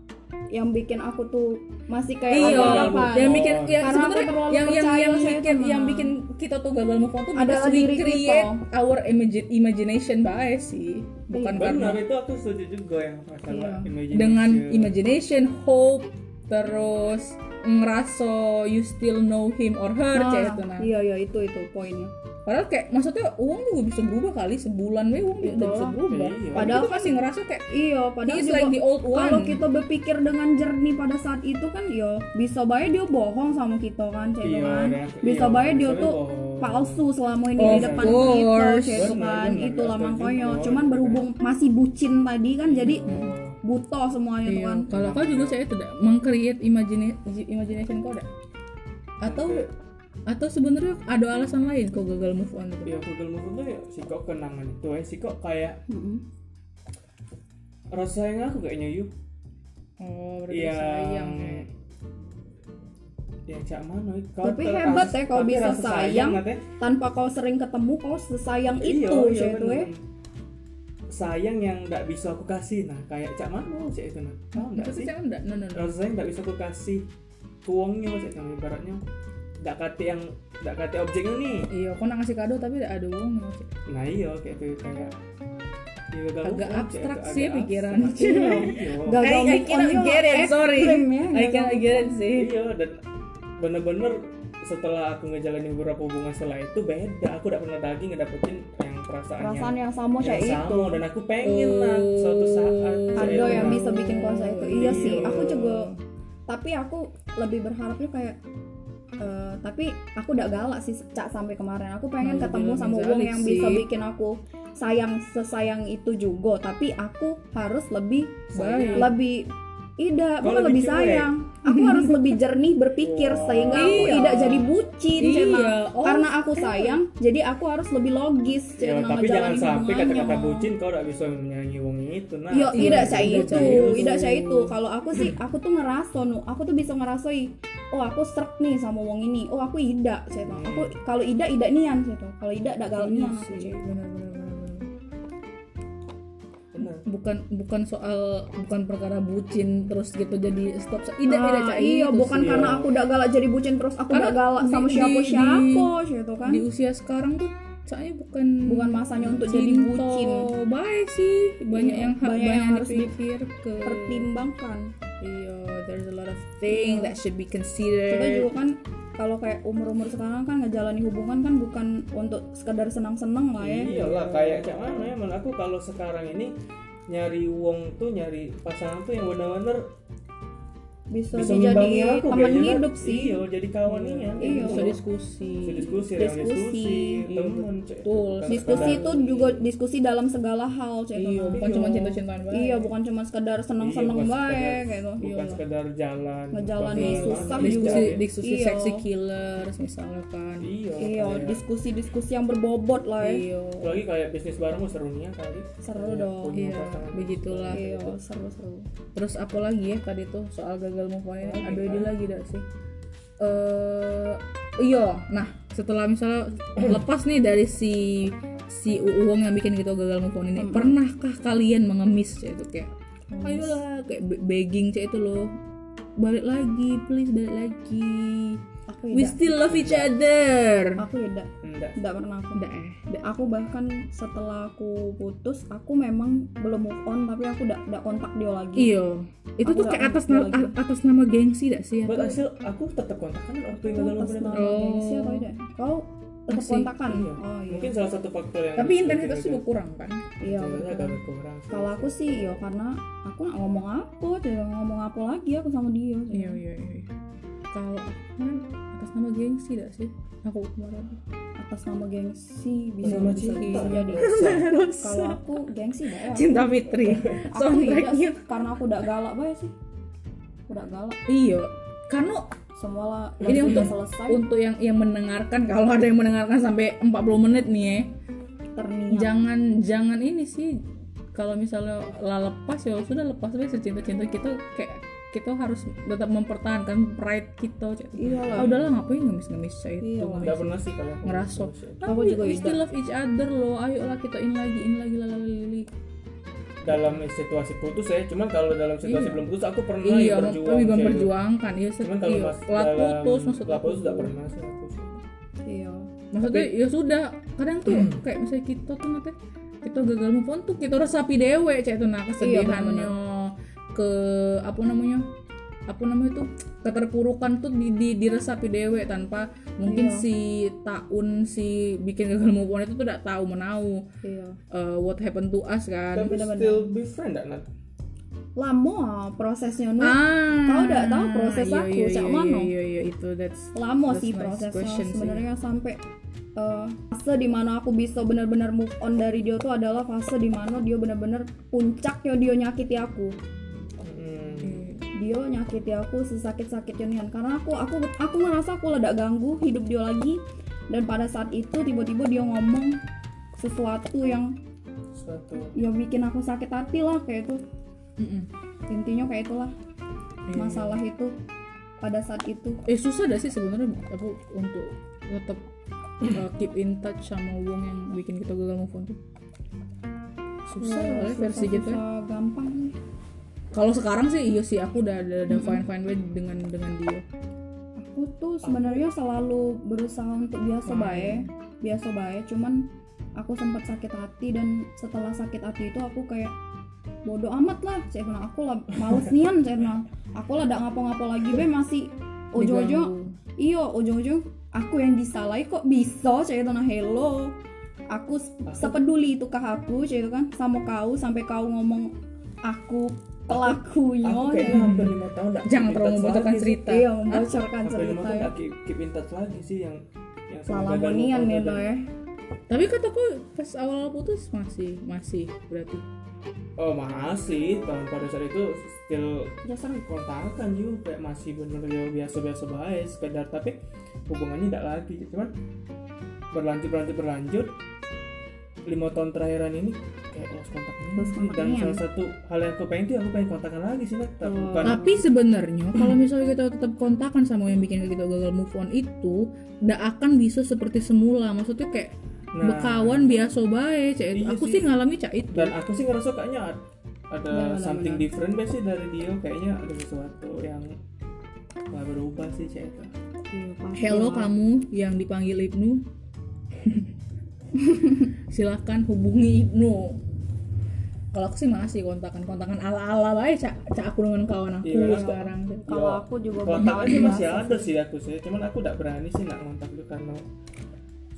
[SPEAKER 3] yang bikin aku tuh masih kayak
[SPEAKER 1] Iya,
[SPEAKER 3] apa
[SPEAKER 1] yang bikin yang
[SPEAKER 3] Karena aku
[SPEAKER 1] sebenarnya yang
[SPEAKER 3] terlalu
[SPEAKER 1] yang
[SPEAKER 3] percaya
[SPEAKER 1] yang
[SPEAKER 3] saya
[SPEAKER 1] bikin
[SPEAKER 3] sama-
[SPEAKER 1] yang bikin kita tuh gagal move on tuh
[SPEAKER 3] Adalah
[SPEAKER 1] because we
[SPEAKER 3] diri kita.
[SPEAKER 1] create our imagi- imagination bae sih, bukan
[SPEAKER 3] Iya.
[SPEAKER 1] karena
[SPEAKER 2] Benar itu aku setuju juga yang masalah
[SPEAKER 3] Iya.
[SPEAKER 2] imagination.
[SPEAKER 1] dengan imagination, hope, terus ngeraso you still know him or her
[SPEAKER 3] Nah,
[SPEAKER 1] cah itu nah.
[SPEAKER 3] iya iya itu itu poinnya
[SPEAKER 1] Padahal kayak maksudnya uang juga bisa berubah kali sebulan we uang
[SPEAKER 3] Betul.
[SPEAKER 1] udah bisa berubah.
[SPEAKER 2] Iya.
[SPEAKER 1] Padahal kan masih ngerasa kayak
[SPEAKER 3] iya padahal
[SPEAKER 1] he is
[SPEAKER 3] juga
[SPEAKER 1] like the old one.
[SPEAKER 2] Kan.
[SPEAKER 3] kalau kita berpikir dengan jernih pada saat itu kan yo bisa baik dia bohong sama kita kan cek itu
[SPEAKER 2] Iya,
[SPEAKER 3] kan
[SPEAKER 2] dan-
[SPEAKER 3] bisa
[SPEAKER 2] iya,
[SPEAKER 3] baik dia
[SPEAKER 2] misalnya
[SPEAKER 3] tuh
[SPEAKER 2] bohong.
[SPEAKER 3] palsu selama ini di
[SPEAKER 1] Of
[SPEAKER 3] depan
[SPEAKER 1] course.
[SPEAKER 3] kita cek itu
[SPEAKER 2] Benar,
[SPEAKER 3] kan
[SPEAKER 2] benar, gitu,
[SPEAKER 3] itulah
[SPEAKER 2] benar
[SPEAKER 3] makanya
[SPEAKER 2] juga.
[SPEAKER 3] cuman berhubung masih bucin tadi kan jadi
[SPEAKER 2] Oh.
[SPEAKER 3] buta semuanya tuh
[SPEAKER 1] Iya,
[SPEAKER 3] kan
[SPEAKER 1] kalau kau juga saya tidak mengcreate imagine imagination kau ada atau atau sebenarnya ada alasan lain kau gagal move on itu.
[SPEAKER 2] Ya Google Move tuh ya si kok kenangan itu ya si kok kayak
[SPEAKER 3] Mm-mm.
[SPEAKER 2] rasa sayang aku kayaknya yuk.
[SPEAKER 1] Oh, berarti
[SPEAKER 2] Iya.
[SPEAKER 1] sayang.
[SPEAKER 2] Ya cak mana ya. kau
[SPEAKER 3] Tapi
[SPEAKER 2] terasa-
[SPEAKER 3] hebat ya kau
[SPEAKER 2] tapi
[SPEAKER 3] bisa
[SPEAKER 2] rasa
[SPEAKER 3] sayang.
[SPEAKER 2] nanti.
[SPEAKER 3] tanpa kau sering ketemu kau sesayang
[SPEAKER 2] Iya,
[SPEAKER 3] itu
[SPEAKER 2] iya,
[SPEAKER 3] cek itu
[SPEAKER 2] bener.
[SPEAKER 3] ya
[SPEAKER 2] sayang yang nggak bisa aku kasih nah kayak cak mana cak itu nah tahu nggak
[SPEAKER 1] Itu
[SPEAKER 2] sih
[SPEAKER 1] saya enggak. No, no, no.
[SPEAKER 2] rasa sayang nggak bisa aku kasih tuangnya cak itu ibaratnya nggak kate yang nggak kate objeknya nih
[SPEAKER 1] Iya, kau nak ngasih kado tapi nggak ada uang.
[SPEAKER 2] nah iya kayak itu kayak ya, gagal
[SPEAKER 1] Agak
[SPEAKER 2] move on, Cak, itu
[SPEAKER 1] abstrak
[SPEAKER 2] agak
[SPEAKER 1] sih
[SPEAKER 2] abstrak.
[SPEAKER 1] pikiran.
[SPEAKER 2] *laughs* Iya, iya.
[SPEAKER 1] I
[SPEAKER 3] gagal move
[SPEAKER 1] cannot
[SPEAKER 3] on-nya
[SPEAKER 1] get it, sorry.
[SPEAKER 3] ekstrim ya,
[SPEAKER 1] I
[SPEAKER 3] gagal
[SPEAKER 1] cannot get it sih.
[SPEAKER 2] iya dan bener-bener setelah aku ngejalanin beberapa hubungan setelah itu beda aku udah pernah lagi ngedapetin yang perasaan,
[SPEAKER 3] perasaan yang sama
[SPEAKER 2] yang
[SPEAKER 3] cek itu
[SPEAKER 2] sama dan aku pengen lah suatu saat Cak,
[SPEAKER 3] ada
[SPEAKER 2] itu,
[SPEAKER 3] yang
[SPEAKER 2] nah.
[SPEAKER 3] bisa bikin kau itu iya sih
[SPEAKER 2] Iya.
[SPEAKER 3] aku juga tapi aku lebih berharapnya kayak eh, tapi aku udah galak sih cak sampai kemarin aku pengen
[SPEAKER 1] Nah,
[SPEAKER 2] Hmm,
[SPEAKER 3] ketemu
[SPEAKER 2] iya,
[SPEAKER 1] lebih
[SPEAKER 3] sama
[SPEAKER 1] lebih
[SPEAKER 3] uang
[SPEAKER 1] zalik
[SPEAKER 3] yang bisa
[SPEAKER 1] sih.
[SPEAKER 3] bikin aku sayang sesayang itu juga tapi aku harus lebih
[SPEAKER 1] Baik.
[SPEAKER 3] lebih tidak
[SPEAKER 2] Kau
[SPEAKER 3] bukan
[SPEAKER 2] lebih
[SPEAKER 3] lebih
[SPEAKER 2] cuek.
[SPEAKER 3] sayang aku harus lebih jernih berpikir
[SPEAKER 2] Wah.
[SPEAKER 3] sehingga aku
[SPEAKER 1] Iya.
[SPEAKER 3] tidak jadi bucin
[SPEAKER 1] Iya.
[SPEAKER 3] Cema.
[SPEAKER 1] Oh,
[SPEAKER 3] karena aku sayang jadi aku harus lebih logis
[SPEAKER 2] Ya,
[SPEAKER 3] Cema,
[SPEAKER 2] tapi jangan
[SPEAKER 3] ngejalanin
[SPEAKER 2] sampai kata-kata
[SPEAKER 3] hubungannya.
[SPEAKER 2] bucin kau udah bisa menyanyi wong itu nah
[SPEAKER 3] Yo,
[SPEAKER 1] Iya,
[SPEAKER 3] tidak saya
[SPEAKER 1] tidak
[SPEAKER 3] itu,
[SPEAKER 1] saya itu.
[SPEAKER 2] iya,
[SPEAKER 3] tidak saya itu. Kalau aku sih, aku tuh ngeraso nu, aku tuh bisa ngerasoi. Oh, aku serak nih sama wong ini. Oh, aku ida, saya tahu. Aku kalau ida ida nian, saya tahu. Kalau ida dak galau
[SPEAKER 1] Iya
[SPEAKER 3] nian. aku, saya tahu.
[SPEAKER 2] Bener.
[SPEAKER 1] bukan bukan soal bukan perkara bucin terus gitu jadi stop tidak tidak
[SPEAKER 3] Ah,
[SPEAKER 1] cah
[SPEAKER 3] iya,
[SPEAKER 1] itu
[SPEAKER 3] bukan
[SPEAKER 1] sih.
[SPEAKER 3] karena
[SPEAKER 2] Iya.
[SPEAKER 3] aku udah galak jadi bucin terus aku
[SPEAKER 1] Karena
[SPEAKER 3] udah galak sama
[SPEAKER 1] di-
[SPEAKER 3] siapa siapa,
[SPEAKER 1] di-
[SPEAKER 3] saya tahu kan.
[SPEAKER 1] di usia sekarang tuh saya bukan
[SPEAKER 3] Bukan masanya untuk jadi
[SPEAKER 1] cinta.
[SPEAKER 3] bucin.
[SPEAKER 1] baik sih banyak
[SPEAKER 3] Iya,
[SPEAKER 1] yang ha-
[SPEAKER 3] banyak
[SPEAKER 1] banyak,
[SPEAKER 3] yang
[SPEAKER 1] yang
[SPEAKER 3] harus
[SPEAKER 1] harus dipikir ke
[SPEAKER 3] Pertimbangkan. Iya.
[SPEAKER 1] iya there's a lot of thing that should be considered
[SPEAKER 3] Kita juga kan kalau kayak umur-umur sekarang kan ngejalani hubungan kan bukan untuk sekedar senang-senang lah ya.
[SPEAKER 2] iyalah kayak cak mana ya menurut aku kalau sekarang ini nyari wong tuh nyari pasangan tuh yang bener-bener
[SPEAKER 3] bisa,
[SPEAKER 2] bisa
[SPEAKER 3] jadi
[SPEAKER 2] ngimbangi aku
[SPEAKER 3] temen
[SPEAKER 2] kayaknya, kan?
[SPEAKER 3] hidup sih
[SPEAKER 2] iya jadi kawan ini ya
[SPEAKER 3] Iya.
[SPEAKER 1] bisa
[SPEAKER 2] Bisa bisa
[SPEAKER 1] diskusi
[SPEAKER 2] diskusi, yang
[SPEAKER 3] Diskusi.
[SPEAKER 2] diskusi,
[SPEAKER 1] Iya,
[SPEAKER 2] temen, Iya. cek.
[SPEAKER 1] betul.
[SPEAKER 2] Bukan
[SPEAKER 3] diskusi
[SPEAKER 2] sekedar-
[SPEAKER 3] itu juga diskusi dalam segala hal gitu. cek
[SPEAKER 1] iya
[SPEAKER 3] Tono.
[SPEAKER 1] bukan cuma cinta-cintaan banget
[SPEAKER 3] iya bukan cuma sekedar seneng seneng
[SPEAKER 2] Iya, bukan
[SPEAKER 3] baik
[SPEAKER 2] sekedar-
[SPEAKER 3] gitu
[SPEAKER 2] bukan
[SPEAKER 1] Iya.
[SPEAKER 2] sekedar jalan
[SPEAKER 3] Ngejalan
[SPEAKER 2] bukan
[SPEAKER 3] nih,
[SPEAKER 2] jalan,
[SPEAKER 3] susah
[SPEAKER 2] jalan.
[SPEAKER 1] diskusi diskusi
[SPEAKER 3] Iya.
[SPEAKER 1] seksi killers misalnya kan
[SPEAKER 2] iya
[SPEAKER 3] iya
[SPEAKER 2] kayak-
[SPEAKER 3] diskusi diskusi yang berbobot lah ya
[SPEAKER 1] iya
[SPEAKER 2] apalagi kayak bisnis bareng mah serunya kali
[SPEAKER 3] Seru
[SPEAKER 2] Kayak
[SPEAKER 3] dong,
[SPEAKER 2] punya
[SPEAKER 1] iya
[SPEAKER 2] pasangan.
[SPEAKER 1] begitulah
[SPEAKER 3] iya seru seru
[SPEAKER 1] terus apa lagi ya tadi tuh soal gagal move on ini
[SPEAKER 2] Lagi,
[SPEAKER 1] ada
[SPEAKER 2] Kak.
[SPEAKER 1] ini lagi dah sih eh iya nah setelah misalnya lepas nih dari si si uang yang bikin gitu gagal move on ini
[SPEAKER 3] Mm.
[SPEAKER 1] pernahkah kalian mengemis ya itu kayak ayolah kayak be- begging cek itu loh balik lagi please balik lagi
[SPEAKER 3] aku
[SPEAKER 1] we
[SPEAKER 3] tidak
[SPEAKER 1] still love each other
[SPEAKER 3] aku tidak
[SPEAKER 2] enggak
[SPEAKER 3] tidak pernah aku
[SPEAKER 1] udah eh
[SPEAKER 3] Da- aku bahkan setelah aku putus aku memang belum move on tapi aku udah udah kontak dia lagi
[SPEAKER 1] iyo Iya. itu
[SPEAKER 3] Aku
[SPEAKER 1] tuh
[SPEAKER 3] nggak
[SPEAKER 1] kayak atas
[SPEAKER 3] ngerti
[SPEAKER 1] nama
[SPEAKER 3] lagi.
[SPEAKER 1] atas nama gengsi gak
[SPEAKER 3] Iya,
[SPEAKER 1] sih ya?
[SPEAKER 2] buat
[SPEAKER 1] atau
[SPEAKER 2] hasil aku tetap kontakkan waktu yang
[SPEAKER 3] Itu
[SPEAKER 2] gagal
[SPEAKER 3] atas
[SPEAKER 2] menggunakan
[SPEAKER 3] nama
[SPEAKER 1] Oh.
[SPEAKER 3] gengsi atau tidak kau tetap
[SPEAKER 1] Masih,
[SPEAKER 3] kontakan
[SPEAKER 2] iya.
[SPEAKER 3] oh iya
[SPEAKER 2] mungkin salah satu faktor yang
[SPEAKER 1] tapi intensitas juga kurang kan
[SPEAKER 3] iya
[SPEAKER 2] Sebenarnya
[SPEAKER 3] betul.
[SPEAKER 2] agak kurang sih.
[SPEAKER 3] kalau aku sih ya karena aku nggak ngomong apa tidak ngomong apa lagi aku sama dia
[SPEAKER 1] iya iya iya kalau kan atas nama gengsi gak sih aku kemarin
[SPEAKER 3] atas nama gengsi bisa
[SPEAKER 2] Sama
[SPEAKER 3] bisa,
[SPEAKER 2] cinta.
[SPEAKER 3] bisa
[SPEAKER 1] *laughs*
[SPEAKER 3] jadi kalau
[SPEAKER 1] Rosa
[SPEAKER 3] aku gengsi bae aku.
[SPEAKER 1] cinta Fitri
[SPEAKER 3] Aku tidak sih,
[SPEAKER 1] soundtracknya
[SPEAKER 3] karena aku udah galak bae sih udah galak
[SPEAKER 1] iya karena
[SPEAKER 3] semua lah
[SPEAKER 1] Ini
[SPEAKER 3] udah
[SPEAKER 1] untuk-
[SPEAKER 3] selesai
[SPEAKER 1] untuk yang yang mendengarkan kalau ada yang mendengarkan sampai 40 menit nih
[SPEAKER 3] Iya.
[SPEAKER 1] ya
[SPEAKER 3] terniat
[SPEAKER 1] jangan jangan ini sih kalau misalnya lah lepas ya sudah lepas aja secinta-cinta kita kayak kita harus tetap mempertahankan pride kita cek.
[SPEAKER 3] iya
[SPEAKER 1] ah
[SPEAKER 3] lah
[SPEAKER 1] udahlah ngapain ngemis-ngemis cek itu
[SPEAKER 3] Iya.
[SPEAKER 2] nggak
[SPEAKER 1] ngemis.
[SPEAKER 2] pernah sih kalau aku ya.
[SPEAKER 1] Ngerasa.
[SPEAKER 3] Aku
[SPEAKER 1] Tapi
[SPEAKER 3] juga
[SPEAKER 1] we
[SPEAKER 3] ingat.
[SPEAKER 1] still love each other loh ayolah kita in lagi in lagi lalalili
[SPEAKER 2] dalam situasi putus ya cuman kalau dalam situasi
[SPEAKER 1] Iya.
[SPEAKER 2] belum putus aku pernah ya
[SPEAKER 1] iya
[SPEAKER 2] berjuang
[SPEAKER 1] lebih
[SPEAKER 2] kayak gitu.
[SPEAKER 1] memperjuangkan iya set-
[SPEAKER 2] cuman kalau
[SPEAKER 1] iya.
[SPEAKER 2] pas
[SPEAKER 1] Lah
[SPEAKER 2] dalam
[SPEAKER 1] putus Kan maksud
[SPEAKER 2] lah putus
[SPEAKER 1] aku.
[SPEAKER 2] nggak pernah sih aku
[SPEAKER 3] iya
[SPEAKER 1] maksudnya ya sudah kadang tuh
[SPEAKER 3] Hmm.
[SPEAKER 1] kayak misalnya kita tuh nanti kita gagal move on tuh kita resapi dewe cek itu nah kesedihannya
[SPEAKER 3] Iya,
[SPEAKER 1] ke apa namanya apa namanya tuh keterpurukan tuh di, di diresapi dewe tanpa mungkin
[SPEAKER 3] Iya.
[SPEAKER 1] si Taun si bikin gagal move on itu tuh tidak tahu menau
[SPEAKER 3] iya
[SPEAKER 1] eh, what happened to us kan
[SPEAKER 2] tapi
[SPEAKER 3] Bener-bener.
[SPEAKER 2] still be friend nggak Nat?
[SPEAKER 3] lama prosesnya nu
[SPEAKER 1] ah
[SPEAKER 3] Kau udah tahu proses
[SPEAKER 1] iya,
[SPEAKER 3] aku,
[SPEAKER 1] iya,
[SPEAKER 3] Cak
[SPEAKER 1] iya,
[SPEAKER 3] Mano. Oh.
[SPEAKER 1] iya, iya, itu that's
[SPEAKER 3] lama
[SPEAKER 1] That's
[SPEAKER 3] sih
[SPEAKER 1] nice
[SPEAKER 3] prosesnya
[SPEAKER 1] question sih.
[SPEAKER 3] sebenarnya sampai eh, fase dimana aku bisa benar-benar move on dari dia tuh adalah fase dimana dia benar-benar puncaknya dia nyakiti aku
[SPEAKER 2] Hmm.
[SPEAKER 1] iya.
[SPEAKER 3] dia nyakiti aku sesakit-sakitnya nian karena aku aku aku ngerasa aku ledak ganggu hidup dia lagi dan pada saat itu tiba-tiba dia ngomong sesuatu yang
[SPEAKER 2] satu
[SPEAKER 3] yang bikin aku sakit hati lah kayak itu
[SPEAKER 1] Mm-mm.
[SPEAKER 3] intinya kayak itulah
[SPEAKER 1] Iya.
[SPEAKER 3] masalah itu pada saat itu
[SPEAKER 1] eh susah gak sih sebenarnya aku untuk tetap uh, keep in touch sama wong yang bikin kita gagal move on tuh susah oleh
[SPEAKER 3] Wah, Hmm, susah,
[SPEAKER 1] versi gitu ya.
[SPEAKER 3] susah, gampang
[SPEAKER 1] kalau sekarang sih iya sih aku udah udah, udah fine fine way dengan dengan dia
[SPEAKER 3] aku tuh sebenarnya selalu berusaha untuk biasa
[SPEAKER 1] Fine.
[SPEAKER 3] baik biasa baik cuman aku sempat sakit hati dan setelah sakit hati itu aku kayak bodoh amat lah saya bilang aku lah males nian saya bilang aku lah gak ngapa-ngapa lagi be masih Oh, ojo-ojo
[SPEAKER 1] Diganggu.
[SPEAKER 3] iyo ojo-ojo aku yang disalahi kok bisa saya bilang "Nah, hello aku s-
[SPEAKER 2] Aku-
[SPEAKER 3] sepeduli itu kah aku saya bilang kan sama kau sampai kau ngomong aku pelakunya
[SPEAKER 2] aku
[SPEAKER 3] saya
[SPEAKER 2] kayaknya
[SPEAKER 3] bilang.
[SPEAKER 2] hampir lima tahun nggak
[SPEAKER 1] Iya, jangan
[SPEAKER 2] keep in
[SPEAKER 1] terlalu
[SPEAKER 2] touch
[SPEAKER 1] membutuhkan
[SPEAKER 2] lagi sih.
[SPEAKER 1] cerita
[SPEAKER 3] iya
[SPEAKER 1] *laughs*
[SPEAKER 3] membocorkan
[SPEAKER 2] hampir lima
[SPEAKER 3] cerita
[SPEAKER 2] tahun
[SPEAKER 3] ya
[SPEAKER 2] nggak keep- keep in touch lagi sih yang yang sama gagal
[SPEAKER 3] Salamonian
[SPEAKER 2] move on tadi.
[SPEAKER 3] nih
[SPEAKER 2] Iya,
[SPEAKER 3] lo ya.
[SPEAKER 1] Ah, tapi kataku pas awal putus masih masih berarti
[SPEAKER 2] oh masih tahun pada saat itu still
[SPEAKER 3] Ya seru.
[SPEAKER 2] kontakan juga kayak masih bener ya biasa-biasa baik sekedar tapi hubungannya tidak lagi cuman berlanjut berlanjut berlanjut lima tahun terakhiran ini kayak lost kontak ini
[SPEAKER 3] Lost
[SPEAKER 2] sih. dan
[SPEAKER 3] kontaknya.
[SPEAKER 2] salah satu hal yang aku pengen tuh aku pengen kontakan lagi sih Nat. tapi
[SPEAKER 3] Oh.
[SPEAKER 2] bukan
[SPEAKER 1] tapi sebenarnya kalau misalnya kita tetap kontakan sama yang bikin kita gagal move on itu tidak akan bisa seperti semula maksudnya kayak
[SPEAKER 2] Nah.
[SPEAKER 1] bekawan biasa baik cak itu
[SPEAKER 2] Iya
[SPEAKER 1] aku sih
[SPEAKER 2] sih.
[SPEAKER 1] ngalami cak itu
[SPEAKER 2] dan aku sih ngerasa kayaknya ad- ada
[SPEAKER 3] Benar-benar.
[SPEAKER 2] something different deh sih dari dia kayaknya ada sesuatu yang nggak berubah sih cek
[SPEAKER 3] Iya, pasti
[SPEAKER 1] Hello
[SPEAKER 3] lah.
[SPEAKER 1] kamu yang dipanggil Ibnu. *laughs* Silahkan hubungi Ibnu. Kalau aku sih masih kontakan-kontakan ala-ala baik cak cak aku dengan kawan aku
[SPEAKER 2] Iya.
[SPEAKER 1] sekarang.
[SPEAKER 3] Kalau aku juga
[SPEAKER 2] kontaknya
[SPEAKER 3] bakalan
[SPEAKER 2] masih
[SPEAKER 3] bahas
[SPEAKER 2] ada sih aku sih cuman aku tidak berani sih nak kontak dia karena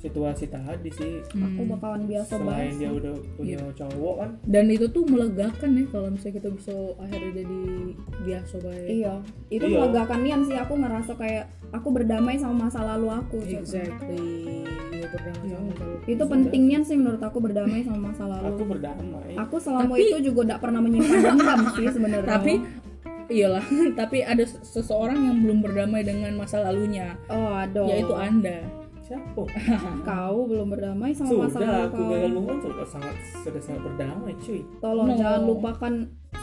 [SPEAKER 2] situasi tadi sih
[SPEAKER 3] aku
[SPEAKER 1] Hmm.
[SPEAKER 3] bakalan biasa
[SPEAKER 2] selain
[SPEAKER 3] banget
[SPEAKER 2] dia udah punya
[SPEAKER 3] Iya.
[SPEAKER 2] cowok kan
[SPEAKER 1] dan itu tuh melegakan ya kalau misalnya kita bisa akhirnya jadi biasa baik
[SPEAKER 3] iya itu
[SPEAKER 2] Iya.
[SPEAKER 3] melegakan nian sih aku ngerasa kayak aku berdamai sama masa lalu aku cuy.
[SPEAKER 1] exactly Iya, berdamai
[SPEAKER 2] Iya.
[SPEAKER 1] sama kalau-
[SPEAKER 3] itu pentingnya sih menurut aku berdamai sama masa
[SPEAKER 2] aku
[SPEAKER 3] lalu
[SPEAKER 2] berdamai
[SPEAKER 3] aku selama
[SPEAKER 1] Tapi-
[SPEAKER 3] itu juga tidak pernah menyimpan dendam sih sebenarnya
[SPEAKER 1] tapi iyalah *laughs* tapi ada se- seseorang yang belum berdamai dengan masa lalunya
[SPEAKER 3] oh aduh
[SPEAKER 2] Ya,
[SPEAKER 1] yaitu anda
[SPEAKER 2] siapa
[SPEAKER 3] kau belum berdamai sama masa lalu
[SPEAKER 2] sudah aku
[SPEAKER 3] kau
[SPEAKER 2] gagal move on sudah sangat sudah sangat berdamai cuy
[SPEAKER 3] tolong
[SPEAKER 1] No.
[SPEAKER 3] jangan lupakan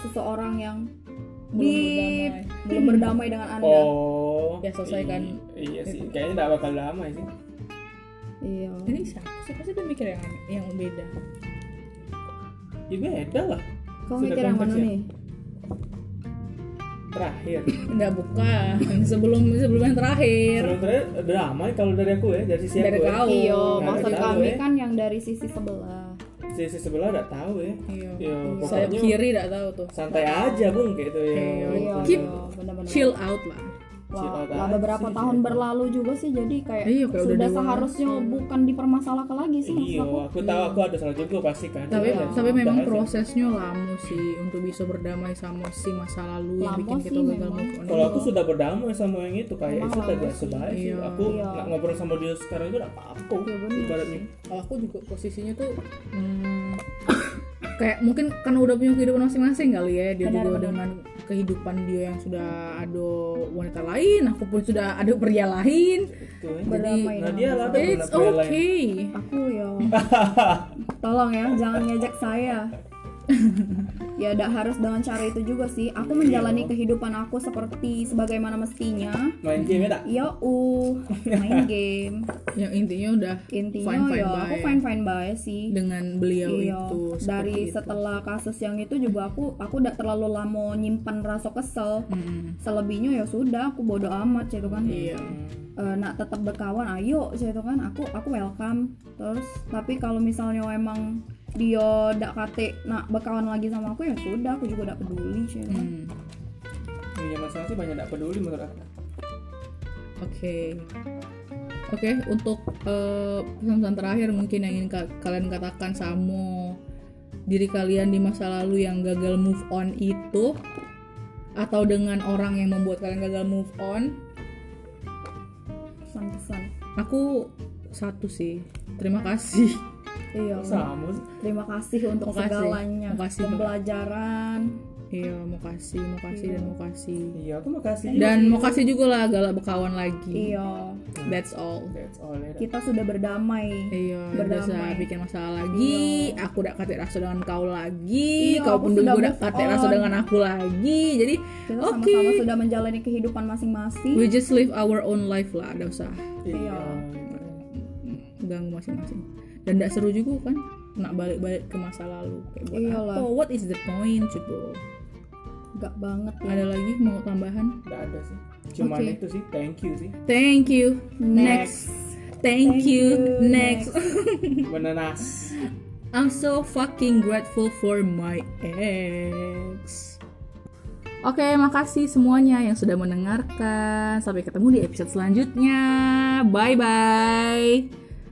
[SPEAKER 3] seseorang yang
[SPEAKER 1] Belum
[SPEAKER 3] Beep.
[SPEAKER 1] berdamai.
[SPEAKER 3] belum berdamai dengan anda
[SPEAKER 2] oh
[SPEAKER 1] Ya, selesai kan.
[SPEAKER 2] i- iya sih kayaknya tidak bakal damai sih
[SPEAKER 3] iya
[SPEAKER 1] ini siapa sih pasti dia mikir yang yang beda
[SPEAKER 2] ya beda lah
[SPEAKER 3] kau
[SPEAKER 2] Sudah ya?
[SPEAKER 3] mikir yang mana
[SPEAKER 2] konteksnya.
[SPEAKER 3] nih
[SPEAKER 2] terakhir
[SPEAKER 1] enggak bukan sebelum sebelum yang terakhir
[SPEAKER 2] sebelum terakhir damai kalau dari aku ya dari sisi
[SPEAKER 1] Dari
[SPEAKER 2] aku
[SPEAKER 1] kau.
[SPEAKER 2] ya.
[SPEAKER 3] Iya,
[SPEAKER 1] Nah,
[SPEAKER 3] maksud
[SPEAKER 2] kita
[SPEAKER 3] kami
[SPEAKER 2] tahu ya.
[SPEAKER 3] kan yang dari sisi sebelah.
[SPEAKER 2] sisi sebelah tidak tahu ya
[SPEAKER 1] iya
[SPEAKER 2] ya
[SPEAKER 1] sayap
[SPEAKER 2] pokoknya
[SPEAKER 1] kiri tidak tahu tuh
[SPEAKER 2] santai aja bung gitu ya
[SPEAKER 1] Iya,
[SPEAKER 3] Iya,
[SPEAKER 1] Keep
[SPEAKER 3] iya, benar-benar.
[SPEAKER 1] chill out lah
[SPEAKER 3] Wah,
[SPEAKER 2] out
[SPEAKER 3] lah
[SPEAKER 2] aja
[SPEAKER 3] beberapa
[SPEAKER 2] sih,
[SPEAKER 3] tahun
[SPEAKER 2] iya.
[SPEAKER 3] berlalu juga sih jadi kayak
[SPEAKER 1] Iya, kayak udah
[SPEAKER 3] sudah
[SPEAKER 1] dewasa.
[SPEAKER 3] seharusnya bukan dipermasalahkan lagi sih maksud
[SPEAKER 2] Iya,
[SPEAKER 3] aku.
[SPEAKER 2] aku tahu aku ada salah juga pasti kan.
[SPEAKER 1] tapi
[SPEAKER 2] Iya.
[SPEAKER 1] tapi memang
[SPEAKER 2] Bahas ya.
[SPEAKER 1] prosesnya lama sih untuk bisa berdamai sama si masa lalu yang
[SPEAKER 3] Lama
[SPEAKER 1] bikin kita
[SPEAKER 3] sih
[SPEAKER 1] gagal
[SPEAKER 3] memang.
[SPEAKER 1] move on
[SPEAKER 2] Kalau aku sudah berdamai sama yang itu kayak
[SPEAKER 3] Emang
[SPEAKER 2] itu
[SPEAKER 3] lama
[SPEAKER 2] tadi biasa baik sih.
[SPEAKER 1] Iya.
[SPEAKER 2] Aku
[SPEAKER 3] Iya.
[SPEAKER 2] nggak ngobrol sama dia sekarang itu nggak apa-apa.
[SPEAKER 3] Iya, bener
[SPEAKER 2] Ibaratnya.
[SPEAKER 1] kalau aku juga posisinya tuh hmm, *coughs* kayak mungkin karena udah punya kehidupan masing-masing kali ya dia
[SPEAKER 3] Benar,
[SPEAKER 1] juga
[SPEAKER 3] benar.
[SPEAKER 1] dengan kehidupan dia yang sudah ada wanita lain aku pun sudah ada pria lain
[SPEAKER 2] Itu ya.
[SPEAKER 3] Berdamai
[SPEAKER 2] Nah,
[SPEAKER 3] dengan
[SPEAKER 2] dia
[SPEAKER 3] masa
[SPEAKER 2] lah
[SPEAKER 3] lalu.
[SPEAKER 2] deh.
[SPEAKER 1] it's
[SPEAKER 2] pria lain.
[SPEAKER 1] okay
[SPEAKER 3] Aku
[SPEAKER 2] *laughs*
[SPEAKER 3] ya. Tolong ya, jangan ngejek saya. ya tidak harus dengan cara itu juga sih. Aku menjalani
[SPEAKER 2] Iya.
[SPEAKER 3] kehidupan aku seperti sebagaimana mestinya.
[SPEAKER 2] Main game ya tak?
[SPEAKER 3] Yo, uh, main game.
[SPEAKER 1] yang intinya udah
[SPEAKER 3] Intinya
[SPEAKER 1] Fine-fine
[SPEAKER 3] ya aku
[SPEAKER 1] bae.
[SPEAKER 3] fine fine bae sih.
[SPEAKER 1] dengan beliau
[SPEAKER 3] Iya,
[SPEAKER 1] itu
[SPEAKER 3] dari
[SPEAKER 1] seperti itu.
[SPEAKER 3] setelah kasus yang itu juga aku aku udah terlalu lama nyimpan rasa kesel.
[SPEAKER 1] Mm-mm.
[SPEAKER 3] Selebihnya ya sudah aku bodo amat gitu kan.
[SPEAKER 1] iya
[SPEAKER 2] Hmm,
[SPEAKER 3] Eh, nak tetap berkawan ayo gitu kan aku aku welcome. Terus tapi kalau misalnya emang dia dak kate nak berkawan lagi sama aku ya sudah aku juga dak peduli gitu kan.
[SPEAKER 1] Mm.
[SPEAKER 2] Iya, masalah sih banyak nggak peduli menurut aku.
[SPEAKER 1] Oke. Oke, untuk eh, pesan-pesan terakhir mungkin yang ingin ka- kalian katakan sama diri kalian di masa lalu yang gagal move on itu atau dengan orang yang membuat kalian gagal move on, Hmm.
[SPEAKER 3] pesan-pesan.
[SPEAKER 1] aku satu sih. Terima kasih. *laughs*
[SPEAKER 3] Iya.
[SPEAKER 2] Sama sih.
[SPEAKER 3] Terima kasih untuk
[SPEAKER 1] Makasih.
[SPEAKER 3] segalanya,
[SPEAKER 1] Makasih, Mbak.
[SPEAKER 3] pembelajaran.
[SPEAKER 1] Iya, mau kasih, mau kasih dan mau kasih.
[SPEAKER 2] Iya, aku makasih.
[SPEAKER 1] Dan mau kasih juga lah galak berkawan lagi.
[SPEAKER 3] Iya,
[SPEAKER 1] That's all.
[SPEAKER 2] That's all ya. tak?
[SPEAKER 3] kita sudah berdamai.
[SPEAKER 1] Iya,
[SPEAKER 3] Berdamai.
[SPEAKER 1] bisa bikin masalah lagi. Aku udah kate rasa dengan kau lagi.
[SPEAKER 3] Iya,
[SPEAKER 1] kau
[SPEAKER 3] aku
[SPEAKER 1] pun
[SPEAKER 3] sudah
[SPEAKER 1] juga udah
[SPEAKER 3] move
[SPEAKER 1] kate
[SPEAKER 3] on.
[SPEAKER 1] rasa dengan aku lagi. Jadi
[SPEAKER 3] Kita
[SPEAKER 1] Oke.
[SPEAKER 3] sama-sama sudah menjalani kehidupan masing-masing.
[SPEAKER 1] we just live our own life lah, ada usah
[SPEAKER 2] Iya.
[SPEAKER 1] ganggu masing-masing. Dan gak seru juga kan nak balik-balik ke masa lalu kayak buat
[SPEAKER 3] Iyalah.
[SPEAKER 1] apa? What is the point, coba?
[SPEAKER 3] Gak banget ya.
[SPEAKER 1] Ada lagi mau tambahan?
[SPEAKER 2] Nggak ada sih. Cuman
[SPEAKER 1] Oke.
[SPEAKER 2] itu sih. Thank you sih.
[SPEAKER 1] Thank you. Next. Thank,
[SPEAKER 3] Thank
[SPEAKER 1] you.
[SPEAKER 3] you.
[SPEAKER 1] Next.
[SPEAKER 2] Menenas.
[SPEAKER 1] I'm so fucking grateful for my ex. Oke, makasih semuanya yang sudah mendengarkan. Sampai ketemu di episode selanjutnya. Bye bye.